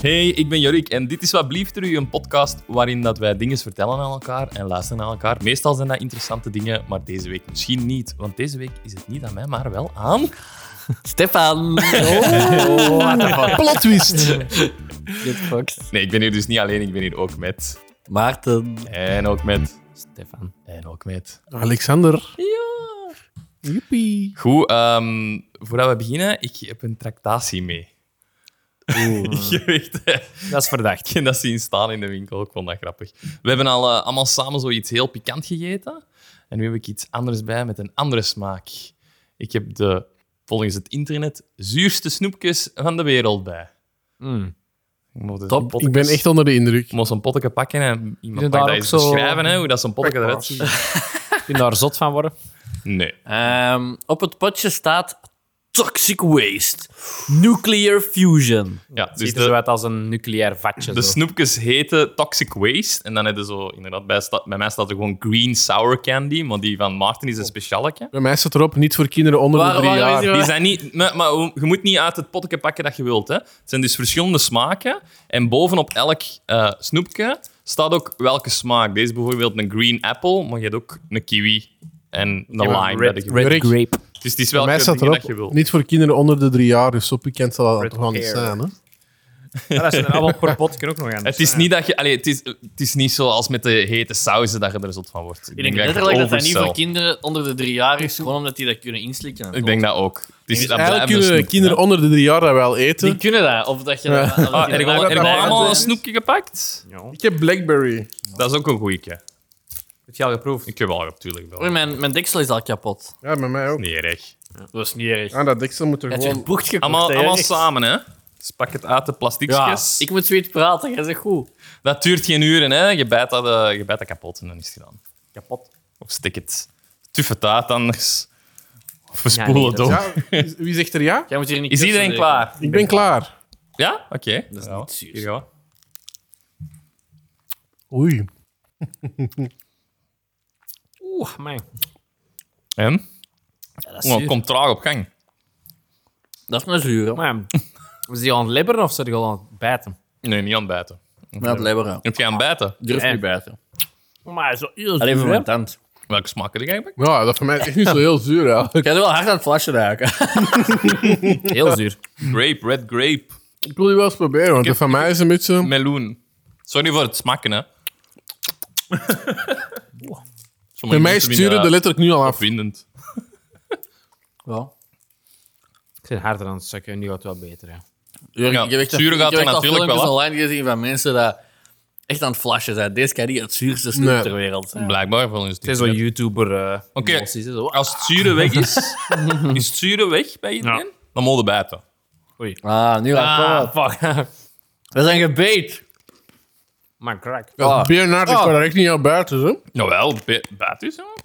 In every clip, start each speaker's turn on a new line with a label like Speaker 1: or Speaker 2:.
Speaker 1: Hey, ik ben Jorik en dit is Wat Blieft er u, een podcast waarin dat wij dingen vertellen aan elkaar en luisteren aan elkaar. Meestal zijn dat interessante dingen, maar deze week misschien niet. Want deze week is het niet aan mij, maar wel aan...
Speaker 2: Stefan.
Speaker 3: Oh,
Speaker 4: Plot twist.
Speaker 2: Get fucked.
Speaker 1: Nee, ik ben hier dus niet alleen, ik ben hier ook met...
Speaker 2: Maarten.
Speaker 1: En ook met...
Speaker 2: Stefan.
Speaker 1: En ook met...
Speaker 4: Alexander.
Speaker 1: Ja.
Speaker 4: Joepie.
Speaker 1: Goed, ehm, voordat we beginnen, ik heb een tractatie mee. Je weet, hè.
Speaker 2: Dat is verdacht.
Speaker 1: Ik heb dat zien staan in de winkel, ik vond dat grappig. We hebben al eh, allemaal samen zoiets heel pikant gegeten. En nu heb ik iets anders bij met een andere smaak. Ik heb de, volgens het internet, zuurste snoepjes van de wereld bij. Ik moet dus
Speaker 2: Top.
Speaker 1: een potje-
Speaker 4: Ik ben echt onder de indruk.
Speaker 1: Ik moest een potje pakken en iemand mag
Speaker 3: daar
Speaker 1: dat
Speaker 3: ook
Speaker 1: eens
Speaker 3: zo-
Speaker 1: beschrijven, hè, hoe dat zo'n potje eruit ziet.
Speaker 3: Kun je daar zot van worden?
Speaker 1: Nee.
Speaker 2: Ehm, op het potje staat toxic waste. Nuclear fusion.
Speaker 1: Ja, dus
Speaker 3: Ziet er zo
Speaker 1: de,
Speaker 3: uit als een nucleair vatje.
Speaker 1: de
Speaker 2: Dus
Speaker 3: zo.
Speaker 1: snoepjes heten Toxic Waste. En dan hebben ze zo, inderdaad, bij, sta- bij mij staat er gewoon Green Sour Candy, maar die van Maarten is een specialetje.
Speaker 4: Bij mij staat erop, niet voor kinderen onder
Speaker 2: Waar-
Speaker 4: de drie
Speaker 2: waar is
Speaker 4: jaar.
Speaker 2: die-
Speaker 1: Die zijn niet, maar, maar je moet niet uit het potje pakken dat je wilt. Hè. Het zijn dus verschillende smaken. En bovenop elk eh, snoepje staat ook welke smaak. Deze is bijvoorbeeld een green apple, maar je hebt ook een kiwi en een
Speaker 3: Ja,
Speaker 1: lime.
Speaker 3: red-
Speaker 1: dat je-
Speaker 3: red
Speaker 4: Rick.
Speaker 3: grape.
Speaker 1: Dus het is
Speaker 4: Bij
Speaker 1: welke
Speaker 4: mij staat
Speaker 1: dingen dat je
Speaker 4: erop,
Speaker 1: wilt.
Speaker 4: niet voor kinderen onder de drie jaar. Dus zo pikant zal dat
Speaker 3: Red
Speaker 4: toch wel niet
Speaker 3: hair.
Speaker 4: zijn. Hè?
Speaker 3: Ja, dat is een appel per pot, kan ook nog aan.
Speaker 1: Het is niet dat je... Allee, het, is, het is niet zoals met de hete sauzen dat je er zot van wordt.
Speaker 2: Ik denk
Speaker 1: je
Speaker 2: letterlijk dat
Speaker 1: het
Speaker 2: dat niet voor
Speaker 1: overstel.
Speaker 2: kinderen onder de drie jaar is, gewoon omdat die dat kunnen inslikken.
Speaker 1: Ik denk dat ook. Het is, dat blijven
Speaker 4: Eigenlijk
Speaker 1: dus
Speaker 4: kunnen
Speaker 1: snoepjes,
Speaker 4: kinderen onder de drie jaar dat wel
Speaker 2: Die
Speaker 4: eten.
Speaker 2: kunnen dat, of dat je...
Speaker 4: Ja.
Speaker 2: dat- dat
Speaker 1: hè. Ah,
Speaker 2: die
Speaker 1: er
Speaker 2: dat-
Speaker 1: gewoon- er
Speaker 2: dat-
Speaker 1: gewoon
Speaker 2: dat-
Speaker 1: allemaal een
Speaker 2: dat-
Speaker 1: snoepje gepakt?
Speaker 3: Ja.
Speaker 4: Ik heb Blackberry.
Speaker 1: Dat is ook een goeieke.
Speaker 3: Heb je al geproefd?
Speaker 1: Ik heb wel, natuurlijk
Speaker 2: Oei,
Speaker 1: wel.
Speaker 2: mijn, mijn deksel is al kapot.
Speaker 4: Ja, bij mij ook.
Speaker 1: Nee, recht.
Speaker 2: Dat is niet erg.
Speaker 4: Ah, dat deksel moet er
Speaker 2: Dat je een
Speaker 4: gewoon...
Speaker 2: bocht gekocht,
Speaker 1: Allemaal,
Speaker 2: hè,
Speaker 1: allemaal
Speaker 2: Erik?
Speaker 1: samen, hè? Dus pak het uit de
Speaker 2: Ja,
Speaker 1: plastiekjes.
Speaker 2: ik moet zoiets praten, jij zegt goed.
Speaker 1: Dat duurt geen uren, hè? Je bijt dat, eh, je bijt dat kapot en dan is het gedaan.
Speaker 3: Kapot.
Speaker 1: Of stik het. Tuf het uit anders. Of we
Speaker 3: Ja,
Speaker 1: spoelen
Speaker 3: nee,
Speaker 1: het
Speaker 3: dat-
Speaker 1: op.
Speaker 4: Ja, is- wie zegt er ja?
Speaker 2: Jij moet hier niet
Speaker 1: Is
Speaker 2: kussen,
Speaker 1: iedereen
Speaker 2: Erik.
Speaker 1: klaar?
Speaker 4: Ik ben klaar.
Speaker 1: Ja? Oké. Dat
Speaker 2: is niet zuur.
Speaker 1: Hier gaan we.
Speaker 4: Oei.
Speaker 3: Oeh, man.
Speaker 1: En?
Speaker 2: Ja, dat is
Speaker 1: Oh,
Speaker 2: zuur.
Speaker 1: kom traag op gang.
Speaker 2: Dat is een zuur, hè.
Speaker 3: man. Is die aan het libberen of zit die al aan het bijten?
Speaker 1: Nee, niet aan het bijten.
Speaker 2: Maar het lebberen.
Speaker 1: Heb jij aan het bijten?
Speaker 2: Durf
Speaker 3: Ja.
Speaker 2: niet buiten.
Speaker 3: Maar zo heel
Speaker 2: Alleen voor
Speaker 3: zuur,
Speaker 2: mijn
Speaker 3: hè?
Speaker 2: tand.
Speaker 1: Welke smaak heb jij gepakt?
Speaker 4: Ja, dat voor mij is echt niet zo heel zuur. eigenlijk.
Speaker 2: Ik ga er wel hard aan het flesje raken.
Speaker 3: Heel zuur.
Speaker 1: Grape, red grape,
Speaker 4: Ik wil die wel eens proberen, want dat van mij is een beetje...
Speaker 1: meloen. Sorry voor het smaken, hè?
Speaker 4: Bij mij sturen de letterlijk nu al af.
Speaker 1: Vindend.
Speaker 2: Wel.
Speaker 3: Ik zit harder aan het sukken, nu gaat het wel beter. Hè.
Speaker 2: Jurgen,
Speaker 1: Ja,
Speaker 2: ik heb echt
Speaker 1: zuur gaat
Speaker 2: ik heb
Speaker 1: er
Speaker 2: echt al
Speaker 1: natuurlijk wel af.
Speaker 2: filmpjes online gezien van mensen dat echt aan het flashen zijn. Deze kan niet het zuurste snoep
Speaker 4: Nee.
Speaker 2: ter wereld zijn.
Speaker 1: Blijkbaar volgens
Speaker 3: Het is zo'n YouTuber. eh
Speaker 1: Oké.
Speaker 3: emoties, hè, zo.
Speaker 1: Als het zure weg is, is het zure weg bij iedereen, dan mogen we bijten.
Speaker 3: Oei.
Speaker 2: Ah, nu gaat het wel.
Speaker 3: Ah, fuck.
Speaker 2: We zijn gebeet.
Speaker 3: Maar crack.
Speaker 2: Ah.
Speaker 4: Bernard, ik kan er echt niet aan buiten, zo.
Speaker 1: Jawel, bij- bijten is wel.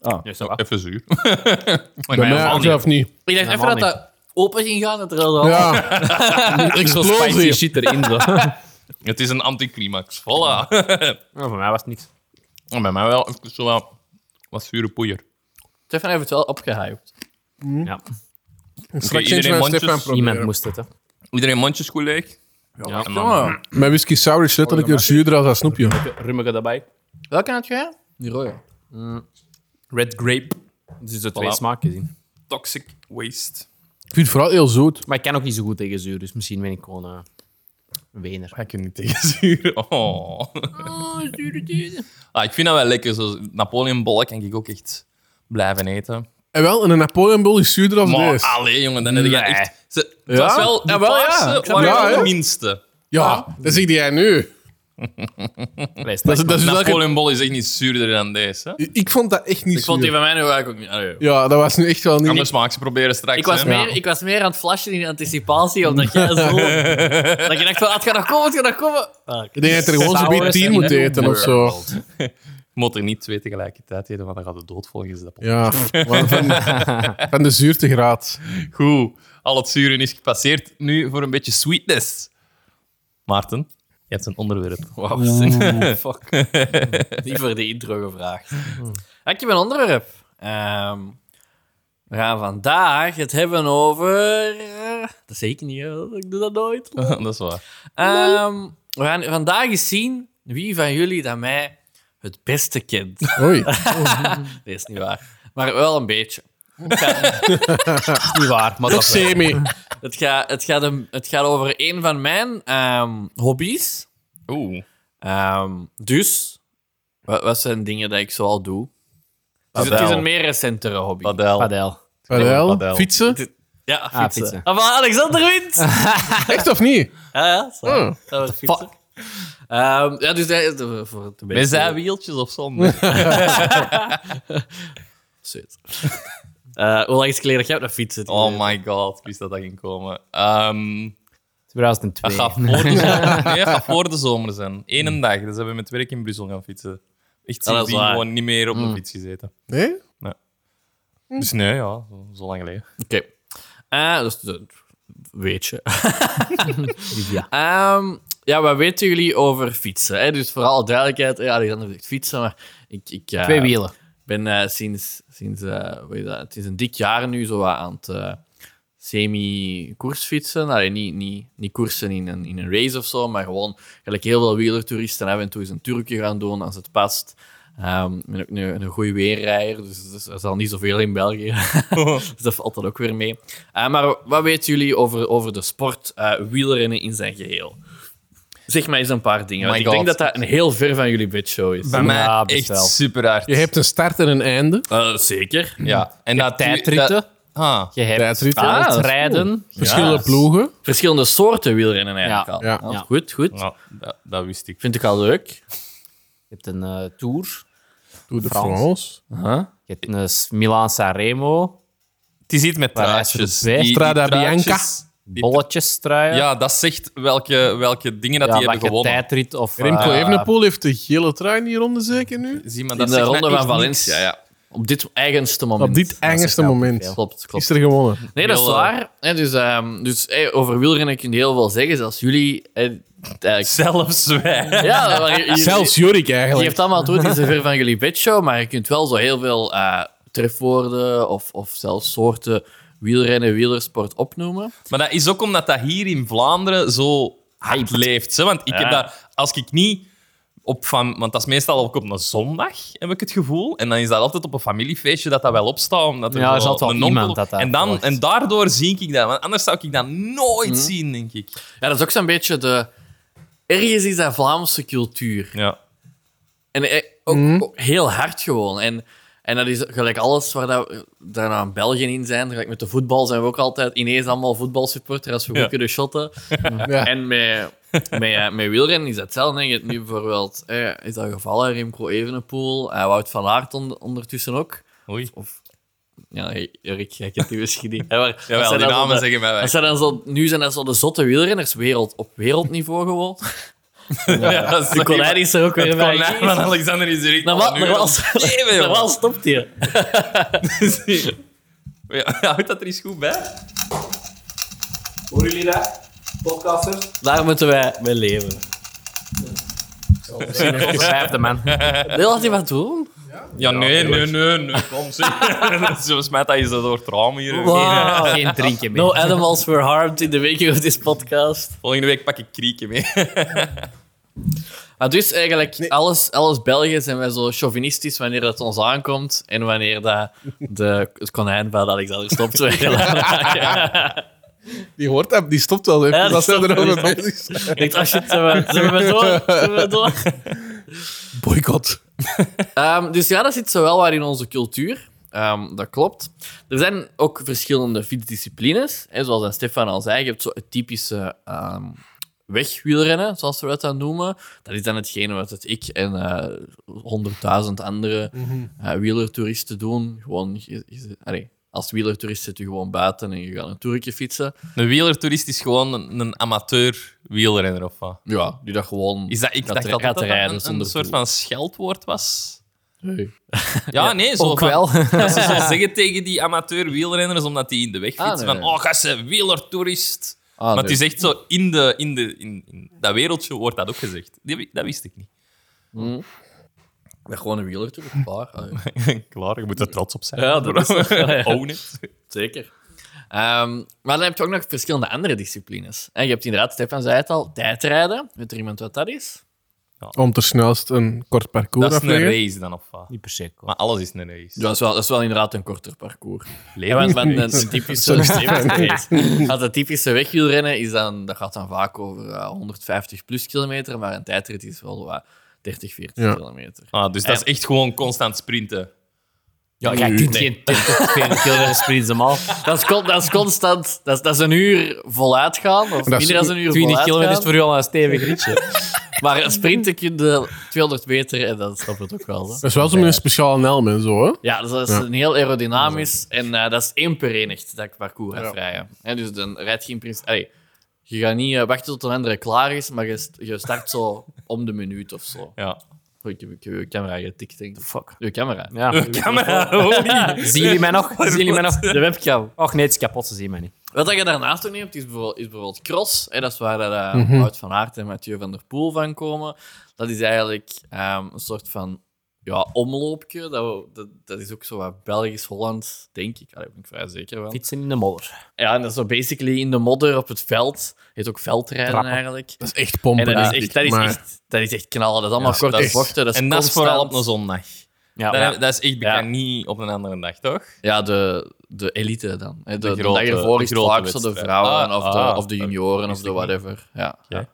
Speaker 3: Ja, zo, ah.
Speaker 1: Even zuur.
Speaker 4: Bij mij zelf niet.
Speaker 2: Ik dacht even
Speaker 3: Helemaal
Speaker 2: dat dat open ging gaan. Dat er al
Speaker 4: Ja. Een
Speaker 3: Zo'n spicy
Speaker 4: explosie.
Speaker 3: shit erin. Zo. ja,
Speaker 1: Het is een anticlimax. Voilà.
Speaker 3: voor mij was het niks.
Speaker 1: En bij mij wel even zo wat, wat zure poeier.
Speaker 2: Stefan heeft het wel opgehyped.
Speaker 3: Ja.
Speaker 4: Straks
Speaker 1: iedereen
Speaker 4: eentje van
Speaker 1: mondjes.
Speaker 4: Stefan proberen.
Speaker 3: Iemand moest het, hè.
Speaker 1: Iedereen mondjes goed leeg.
Speaker 2: Ja.
Speaker 1: En dan-
Speaker 2: Ja.
Speaker 4: Ah, Mijn whisky sour is letterlijk een zuurder als dat snoepje.
Speaker 3: Rummige daarbij.
Speaker 2: Welke had jij? Die rode.
Speaker 3: Red grape. Er zitten twee
Speaker 1: Voilà.
Speaker 3: smaakjes in.
Speaker 1: Toxic waste.
Speaker 4: Ik vind het vooral heel zoet.
Speaker 3: Maar ik kan ook niet zo goed tegen zuur, dus misschien ben ik gewoon eh, een wener.
Speaker 1: Ik kan niet tegen zuur. Oh.
Speaker 2: Oh, zure tijden.
Speaker 1: Ah, ik vind dat wel lekker. Zo Napoleonbollen kan ik ook echt blijven eten.
Speaker 4: En wel, een Napoleonbol is zuurder als
Speaker 1: Maar ah,
Speaker 4: deze.
Speaker 1: allee, jongen, dan heb je
Speaker 3: Nee.
Speaker 1: echt... Ze, het
Speaker 4: Dus. Ja?
Speaker 1: was wel... Die
Speaker 2: Jawel, ja.
Speaker 1: paarse
Speaker 2: Ik snap
Speaker 1: waren
Speaker 4: het.
Speaker 1: wel
Speaker 4: Ja,
Speaker 1: de
Speaker 4: hè?
Speaker 1: minste.
Speaker 4: Ja, dat zeg jij nu.
Speaker 3: Allee, stel-
Speaker 4: Dat is, dat is welke...
Speaker 1: Napoleonbol is echt niet zuurder dan deze. hè.
Speaker 4: Ik vond dat echt niet
Speaker 2: Ik vond die
Speaker 4: zuur.
Speaker 2: van mij nu eigenlijk ook niet. Allee.
Speaker 4: Ja, dat was nu echt wel
Speaker 1: Andere
Speaker 4: niet...
Speaker 1: smaak ze proberen straks.
Speaker 2: Ik was,
Speaker 1: hè.
Speaker 2: meer, ik was meer aan het flashen in anticipatie, omdat jij zo... dat je dacht van, "Ah, het gaat nog komen, het gaat nog komen.
Speaker 4: Ik denk dat er gewoon zo'n beetje 10 moet eten of zo.
Speaker 1: moet er niet twee tegelijkertijd eten, want dan gaat de dood volgens dat pot.
Speaker 4: Ja, maar van, van de zuurtegraad.
Speaker 1: Goed, al het zuren is gepasseerd. Nu voor een beetje sweetness. Maarten, je hebt een onderwerp. Wauw.
Speaker 2: fuck. Niet voor de intro gevraagd. Ja, Ik heb een onderwerp. Ehm, We gaan vandaag het hebben over... eh, Dat zeg ik niet, hè. ik doe dat nooit.
Speaker 1: dat is waar.
Speaker 2: Ehm, we gaan vandaag eens zien wie van jullie dat mij het beste kent.
Speaker 4: Oei.
Speaker 2: Dat is niet waar. Maar wel een beetje.
Speaker 3: Niet waar,
Speaker 4: Toch
Speaker 3: maar dat is
Speaker 4: semi.
Speaker 2: Het gaat, het gaat, een- het gaat over een van mijn ehm, hobby's.
Speaker 1: Oeh.
Speaker 2: Ehm, dus, wat, wat zijn dingen dat ik zoal doe? Dus het
Speaker 1: Padel.
Speaker 2: is een meer recentere hobby.
Speaker 1: Padel.
Speaker 3: padel.
Speaker 4: Padel.
Speaker 1: Padel.
Speaker 4: Fietsen.
Speaker 2: Ja, fietsen.
Speaker 3: Ah, fietsen.
Speaker 2: Ah, maar Alexander wint! ja,
Speaker 4: Echt of niet?
Speaker 2: ja, zo.
Speaker 4: Oh.
Speaker 3: Hmm.
Speaker 2: Gaan we fietsen. Ehm, ja, dus dat is voor de
Speaker 1: Met
Speaker 2: mensen.
Speaker 1: zijwieltjes of zo? Nee.
Speaker 2: Shit. Eh, hoe lang is het geleden dat jij op de fiets zit?
Speaker 1: Oh my god, wist dat dat ging komen. Ehm, dat
Speaker 3: 2002.
Speaker 1: gaat voor, de zomer, nee, dat gaat voor de zomer zijn. Eén dag. Dus hebben we met werk in Brussel gaan fietsen. Echt
Speaker 2: Ah, dat is
Speaker 1: sindsdien
Speaker 2: waar.
Speaker 1: gewoon niet meer op de fiets gezeten.
Speaker 4: Nee?
Speaker 1: Dus nee, ja, zo, zo lang geleden.
Speaker 2: Oké. Eh, dus dat weet je.
Speaker 3: Ja.
Speaker 2: Ehm, ja, wat weten jullie over fietsen? Hè? Dus vooral duidelijkheid. Ja, Alexander zegt fietsen, maar ik... ik eh,
Speaker 3: Twee wielen.
Speaker 2: ben eh, sinds... sinds eh, hoe heet dat? Het is een dik jaar nu zo wat aan het eh, semi-koersfietsen. Allee, niet, niet, niet koersen in een, in een race of zo, maar gewoon gelijk heel veel wielertouristen af en toe eens een toerje gaan doen als het past. Ehm, ik ben ook nu een goede weerrijder, dus dus er zal niet zoveel in België. dus dat valt dan ook weer mee. Eh, maar wat weten jullie over, over de sport eh, wielrennen in zijn geheel? Zeg maar eens een paar dingen. Want
Speaker 1: Oh My
Speaker 2: ik denk dat
Speaker 1: God.
Speaker 2: dat een heel ver van jullie bedshow is.
Speaker 1: Bij mij
Speaker 3: Ja, best
Speaker 1: echt
Speaker 3: wel.
Speaker 1: super hard.
Speaker 4: Je hebt een start en een einde.
Speaker 2: Eh, zeker.
Speaker 1: ja. en dat dat-
Speaker 3: Tijdritten.
Speaker 1: Ah,
Speaker 3: Je hebt
Speaker 4: Tijdrit.
Speaker 2: Ah, dat is
Speaker 3: het
Speaker 2: cool.
Speaker 3: rijden.
Speaker 4: Verschillende ploegen.
Speaker 2: verschillende soorten wielrennen eigenlijk
Speaker 3: Ja.
Speaker 2: al.
Speaker 4: Ja.
Speaker 2: Ah,
Speaker 3: Ja.
Speaker 2: Goed, goed.
Speaker 1: nou, dat, dat wist ik.
Speaker 2: Vind ik al leuk.
Speaker 3: Je hebt een eh, Tour.
Speaker 4: Tour de
Speaker 3: France.
Speaker 4: France.
Speaker 3: Je hebt een S- Milan Sanremo.
Speaker 1: Het is iets met
Speaker 3: Waar
Speaker 1: truitjes.
Speaker 3: is het bij?
Speaker 4: Strada
Speaker 1: truitjes,
Speaker 4: Bianca.
Speaker 1: die-
Speaker 3: Bolletjestruien.
Speaker 1: Ja, dat zegt welke, welke dingen dat
Speaker 3: ja
Speaker 1: die
Speaker 3: maar
Speaker 1: hebben
Speaker 3: je
Speaker 1: gewonnen.
Speaker 3: tijdrit of...
Speaker 4: Remco
Speaker 3: eh,
Speaker 4: Evenepoel heeft de gele trui in die ronde zeker nu.
Speaker 1: Zie, maar
Speaker 2: In
Speaker 1: dat
Speaker 2: de
Speaker 1: zegt mij
Speaker 2: ronde van
Speaker 1: echt niks.
Speaker 2: Valencia, ja. Op dit eigenste moment.
Speaker 4: Op dit engste moment
Speaker 2: Klopt, klopt.
Speaker 4: is er gewonnen.
Speaker 2: Nee, dat is
Speaker 1: Heel, eh,
Speaker 2: waar. Hè, dus ehm, dus hey, over wielrennen kun je heel veel zeggen. Zelfs jullie... hè, eh,
Speaker 1: Zelfs wij.
Speaker 2: ja, maar jullie-
Speaker 4: Zelfs Jorik
Speaker 2: Je
Speaker 4: eigenlijk.
Speaker 2: hebt allemaal toe, het is ver van jullie bedshow, maar je kunt wel zo heel veel eh, trefwoorden of, of zelfs soorten wielrennen, wielersport opnoemen.
Speaker 1: Maar dat is ook omdat dat hier in Vlaanderen zo hard leeft. Hè? Want ik heb
Speaker 2: Ja.
Speaker 1: dat, als ik niet op van, want dat is meestal ook op een zondag, heb ik het gevoel. En dan is dat altijd op een familiefeestje dat dat wel opstaat. Omdat er
Speaker 3: Ja, er
Speaker 1: zo
Speaker 3: zat wel
Speaker 1: een onkel-
Speaker 3: iemand dat dat
Speaker 1: en, dan,
Speaker 3: verwacht. Mhm.
Speaker 1: en daardoor zie ik dat. Want anders zou ik dat nooit zien, denk ik.
Speaker 2: Ja, dat is ook zo'n beetje de... Ergens is dat Vlaamse cultuur.
Speaker 1: Ja.
Speaker 2: En eh, ook, ook heel hard gewoon. En, en dat is gelijk alles waar dat, daar aan België in zijn. Gelijk met de voetbal zijn we ook altijd ineens allemaal voetbalsupporter als we goed
Speaker 1: Ja.
Speaker 2: kunnen shotten.
Speaker 4: Ja.
Speaker 2: En met, met, eh, met wielrennen is dat hetzelfde. hè. Je hebt nu bijvoorbeeld, eh, is dat gevallen, Remco Evenepoel, eh, Wout van Aert on- ondertussen ook.
Speaker 1: Oei.
Speaker 2: Ja, Erik, jij kent die misschien niet. Hè, maar dat
Speaker 1: Jawel,
Speaker 2: zijn
Speaker 1: die
Speaker 2: dan zo
Speaker 1: namen
Speaker 2: de-
Speaker 1: zeggen mij
Speaker 2: dat
Speaker 1: wij.
Speaker 2: zijn dan zo, nu zijn dat zo de zotte wielrenners wereld, op wereldniveau gewoon.
Speaker 1: Ja, dat
Speaker 2: De konijn is er ook weer
Speaker 1: Het
Speaker 2: bij.
Speaker 1: konijn van Alexander is Nou, er echt
Speaker 2: Normaal,
Speaker 1: van nu.
Speaker 2: normaal,
Speaker 1: Jezus, joh.
Speaker 2: normaal stopt hij.
Speaker 1: Ja, Houdt dat er eens goed bij?
Speaker 5: Horen jullie dat? Podcasters?
Speaker 2: Daar moeten wij mee leven.
Speaker 3: Vijfde man.
Speaker 2: Wil dat iemand doen?
Speaker 1: Ja, nee, nee, nee, nee, kom zeg. Dat is Volgens mij dat is dat door trauma hier.
Speaker 2: Wow.
Speaker 3: Geen drinken meer.
Speaker 2: No animals were harmed in the making of this podcast.
Speaker 1: Volgende week pak ik krieken mee.
Speaker 2: Maar dus eigenlijk, alles, alles België zijn wij zo chauvinistisch wanneer het ons aankomt en wanneer dat de, het konijn van Alexander stopt. te
Speaker 4: Die hoort dat, die stopt wel even.
Speaker 2: Ja, die
Speaker 4: dat zijn
Speaker 2: stopt
Speaker 4: er
Speaker 2: wel,
Speaker 4: ook
Speaker 2: die
Speaker 4: mee bezig. zijn.
Speaker 2: Ik dacht, shit, zijn we, zijn we door? Zijn we door?
Speaker 4: Boycott.
Speaker 2: Ehm, dus ja, dat zit zowel waar in onze cultuur. Ehm, dat klopt. Er zijn ook verschillende fietsdisciplines. Hè, zoals dan Stefan al zei, je hebt zo het typische ehm, wegwielrennen, zoals we dat dan noemen. Dat is dan hetgene wat het ik en eh, honderdduizend andere eh, wielertoeristen doen. Gewoon, je- je- allee, als wielertoerist zit je gewoon buiten en je gaat een toertje fietsen.
Speaker 1: Een wielertourist is gewoon een, een amateur wielrenner of wat?
Speaker 2: Ja, die dat gewoon...
Speaker 1: Is dat, ik
Speaker 2: Gaat
Speaker 1: dacht
Speaker 2: er-
Speaker 1: dat
Speaker 2: gaat
Speaker 1: dat
Speaker 2: er rijden
Speaker 1: een, een
Speaker 2: zonder
Speaker 1: soort
Speaker 2: doel.
Speaker 1: van scheldwoord was.
Speaker 2: Nee.
Speaker 1: Ja, nee, zo
Speaker 3: Ook
Speaker 1: van-
Speaker 3: wel.
Speaker 1: Dat ze zo zeggen tegen die amateur wielrenners, omdat die in de weg
Speaker 2: Ah,
Speaker 1: fietsen.
Speaker 2: nee,
Speaker 1: van,
Speaker 2: nee.
Speaker 1: oh, gasten, wielertourist.
Speaker 2: Ah,
Speaker 1: maar
Speaker 2: nee.
Speaker 1: het is echt zo, in, de, in, de, in, in dat wereldje wordt dat ook gezegd. Die heb ik- dat wist ik niet.
Speaker 2: Met gewoon een wieler terug. Klaar. Allee.
Speaker 1: Klaar, je moet er trots op zijn.
Speaker 2: Ja, dat is het. Ja, ja.
Speaker 1: Own it.
Speaker 2: Zeker. Ehm, maar dan heb je ook nog verschillende andere disciplines. En je hebt inderdaad, Stefan zei het al, tijdrijden. Weet er iemand wat dat is?
Speaker 4: Om te snelst een kort parcours
Speaker 1: Dat is
Speaker 4: af te
Speaker 1: een
Speaker 4: leggen.
Speaker 1: race dan, of wat?
Speaker 3: Niet per se.
Speaker 1: Maar alles is een race.
Speaker 2: Ja, dat is wel, dat is wel inderdaad een korter parcours. Ja,
Speaker 1: Leven
Speaker 2: want
Speaker 1: is
Speaker 2: van
Speaker 1: een
Speaker 2: een,
Speaker 1: race.
Speaker 2: een typische streefrace. Als een typische wegwielrennen is dan, dat gaat dan vaak over eh, 150 plus kilometer, maar een tijdrit is wel wat 30, 40
Speaker 4: Ja.
Speaker 2: kilometer.
Speaker 1: Ah, dus dat is echt gewoon constant sprinten.
Speaker 3: Ja, jij kunt geen 20 of 40 kilometer sprinten, man.
Speaker 2: Dat is, con- dat is constant, dat is, dat is een uur voluit gaan, of
Speaker 4: is
Speaker 2: minder dan een uur
Speaker 3: 20
Speaker 2: voluit
Speaker 3: kilometer is
Speaker 2: gaan.
Speaker 3: voor jou al een stevig ritje.
Speaker 2: Maar sprinten kun je 200 meter en dan stopt het ook wel. Hè?
Speaker 4: Dat is wel zo met een speciale helm en zo, hè?
Speaker 2: Ja, dus dat is
Speaker 4: Ja.
Speaker 2: een heel aerodynamisch en eh, dat is één per enigd dat ik parcours heb rijden. Hè, dus dan rijd je in principe... allee, je gaat niet eh, wachten tot een andere klaar is, maar je, st- je start zo om de minuut of zo.
Speaker 1: Ja.
Speaker 2: Oh, Ik heb, ik heb je camera getikt, denk ik. Fuck. Je camera.
Speaker 3: Ja.
Speaker 1: Camera, holy.
Speaker 3: Zien jullie mij nog? Zien jullie mij nog?
Speaker 2: De webcam.
Speaker 3: Och nee, het is kapot, ze zien mij niet.
Speaker 2: Wat dat je daarnaast ook neemt, is bijvoorbeeld, is bijvoorbeeld cross. Hè, dat is waar dat, eh, Wout van Aert en Mathieu van der Poel van komen. Dat is eigenlijk ehm, een soort van ja, omloopje. Dat, we- dat, dat is ook zo wat Belgisch-Holland, denk ik. Daar ben ik vrij zeker van.
Speaker 3: Fietsen in de modder.
Speaker 2: Ja, en dat is zo basically in de modder op het veld. Heet ook veldrijden
Speaker 3: Trappen.
Speaker 2: eigenlijk.
Speaker 4: Dat is echt
Speaker 2: En
Speaker 4: pompen.
Speaker 2: dat is
Speaker 4: denk
Speaker 2: echt,
Speaker 4: ik,
Speaker 2: dat is
Speaker 4: maar-
Speaker 2: echt, dat is echt knallen. Dat is allemaal
Speaker 4: Ja,
Speaker 2: korte
Speaker 4: dat is-
Speaker 2: bochten. Dat is
Speaker 1: En dat is vooral op
Speaker 2: constant-
Speaker 1: een zondag.
Speaker 3: Ja,
Speaker 1: Dat,
Speaker 3: ja.
Speaker 1: dat is echt
Speaker 2: Ja.
Speaker 1: bekend, niet op een andere dag, toch?
Speaker 2: Ja, de, de elite dan. Hè, De,
Speaker 1: De
Speaker 2: de,
Speaker 1: grote-
Speaker 2: dag ervoor
Speaker 1: de
Speaker 2: is het
Speaker 1: grote
Speaker 2: vaak zo de
Speaker 1: wedstrijd.
Speaker 2: vrouwen
Speaker 1: Ah,
Speaker 2: of, de,
Speaker 1: ah,
Speaker 2: of de
Speaker 1: dat
Speaker 2: junioren of
Speaker 1: wist
Speaker 2: de
Speaker 1: ik
Speaker 2: whatever. Ja, ja.
Speaker 1: Oké.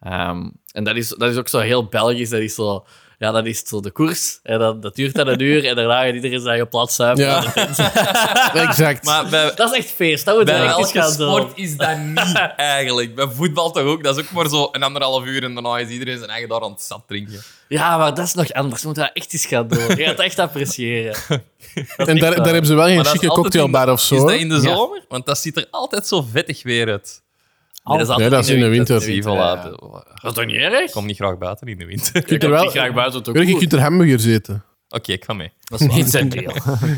Speaker 2: Ehm, en dat is, dat is ook zo heel Belgisch. Dat is zo, ja, dat is zo de koers. En dat, dat duurt dan een uur en daarna gaat iedereen zijn eigen plaats zuipen.
Speaker 4: Ja, exact.
Speaker 1: Maar bij,
Speaker 2: Dat is echt feest. Dat moet je
Speaker 1: bij
Speaker 2: echt
Speaker 1: elke
Speaker 2: gaan doen.
Speaker 1: sport is dat niet eigenlijk. Bij voetbal toch ook? Dat is ook maar zo een anderhalf uur en daarna is iedereen zijn eigen daar aan het zat drinken.
Speaker 2: Ja, maar dat is nog anders. Je moet dat echt eens gaan doen. Je gaat het echt appreciëren.
Speaker 4: en daar, daar hebben ze wel geen
Speaker 1: dat is
Speaker 4: chique
Speaker 1: altijd
Speaker 4: cocktailbar
Speaker 1: in-
Speaker 4: of zo.
Speaker 1: Is dat
Speaker 4: hè?
Speaker 1: in de zomer? Want dat ziet er altijd zo vettig weer uit.
Speaker 4: Nee, dat is in de winter.
Speaker 1: Die
Speaker 2: Ja.
Speaker 1: voilà,
Speaker 2: Dat is toch niet erg?
Speaker 1: Ik kom niet graag buiten in de winter. Oké,
Speaker 4: Je kunt er wel,
Speaker 2: Ik graag buiten tot
Speaker 4: Jurgen, je kunt er hamburgers eten.
Speaker 1: ik ga mee.
Speaker 2: Dat is niet zijn deel.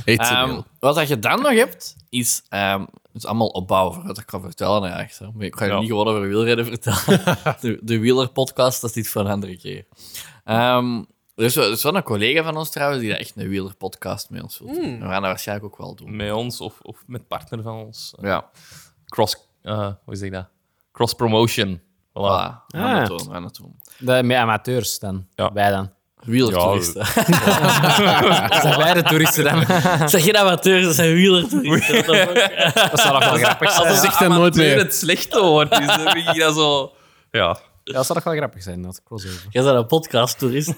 Speaker 4: Eet ze
Speaker 2: Ehm,
Speaker 4: wel.
Speaker 2: wat dat je dan nog hebt, is... ehm het is allemaal opbouw voor wat ik kan vertellen eigenlijk. zo. Maar Ik ga je
Speaker 1: Ja.
Speaker 2: niet gewoon over wielrennen vertellen. De, de wielerpodcast, dat is iets voor een andere keer. Ehm, er, is wel, er is wel een collega van ons trouwens die dat echt een wielerpodcast met ons wil
Speaker 4: Hmm.
Speaker 2: doen. We gaan dat waarschijnlijk ook wel doen.
Speaker 1: Met ons of, of met partner van ons.
Speaker 2: Ja,
Speaker 1: Cross, eh, hoe zeg je dat? Cross promotion. Voilà.
Speaker 2: voilà. We gaan het
Speaker 3: Ah.
Speaker 2: doen, we gaan het doen.
Speaker 3: De, met amateurs dan.
Speaker 1: Ja.
Speaker 3: Wij dan.
Speaker 2: Wielertoeristen.
Speaker 3: Zijn wij de toeristen dan?
Speaker 2: Zeg je amateurs, dat zijn wielertoeristen. What the fuck?
Speaker 3: Dat zou toch wel grappig zijn.
Speaker 4: Zeg dat nooit
Speaker 1: Amateur
Speaker 4: meer.
Speaker 1: het slechte woord is, dan vind ik dat zo... Ja.
Speaker 3: Ja, dat zou toch wel grappig zijn, dat crossover.
Speaker 2: Jij bent een podcast-toerist.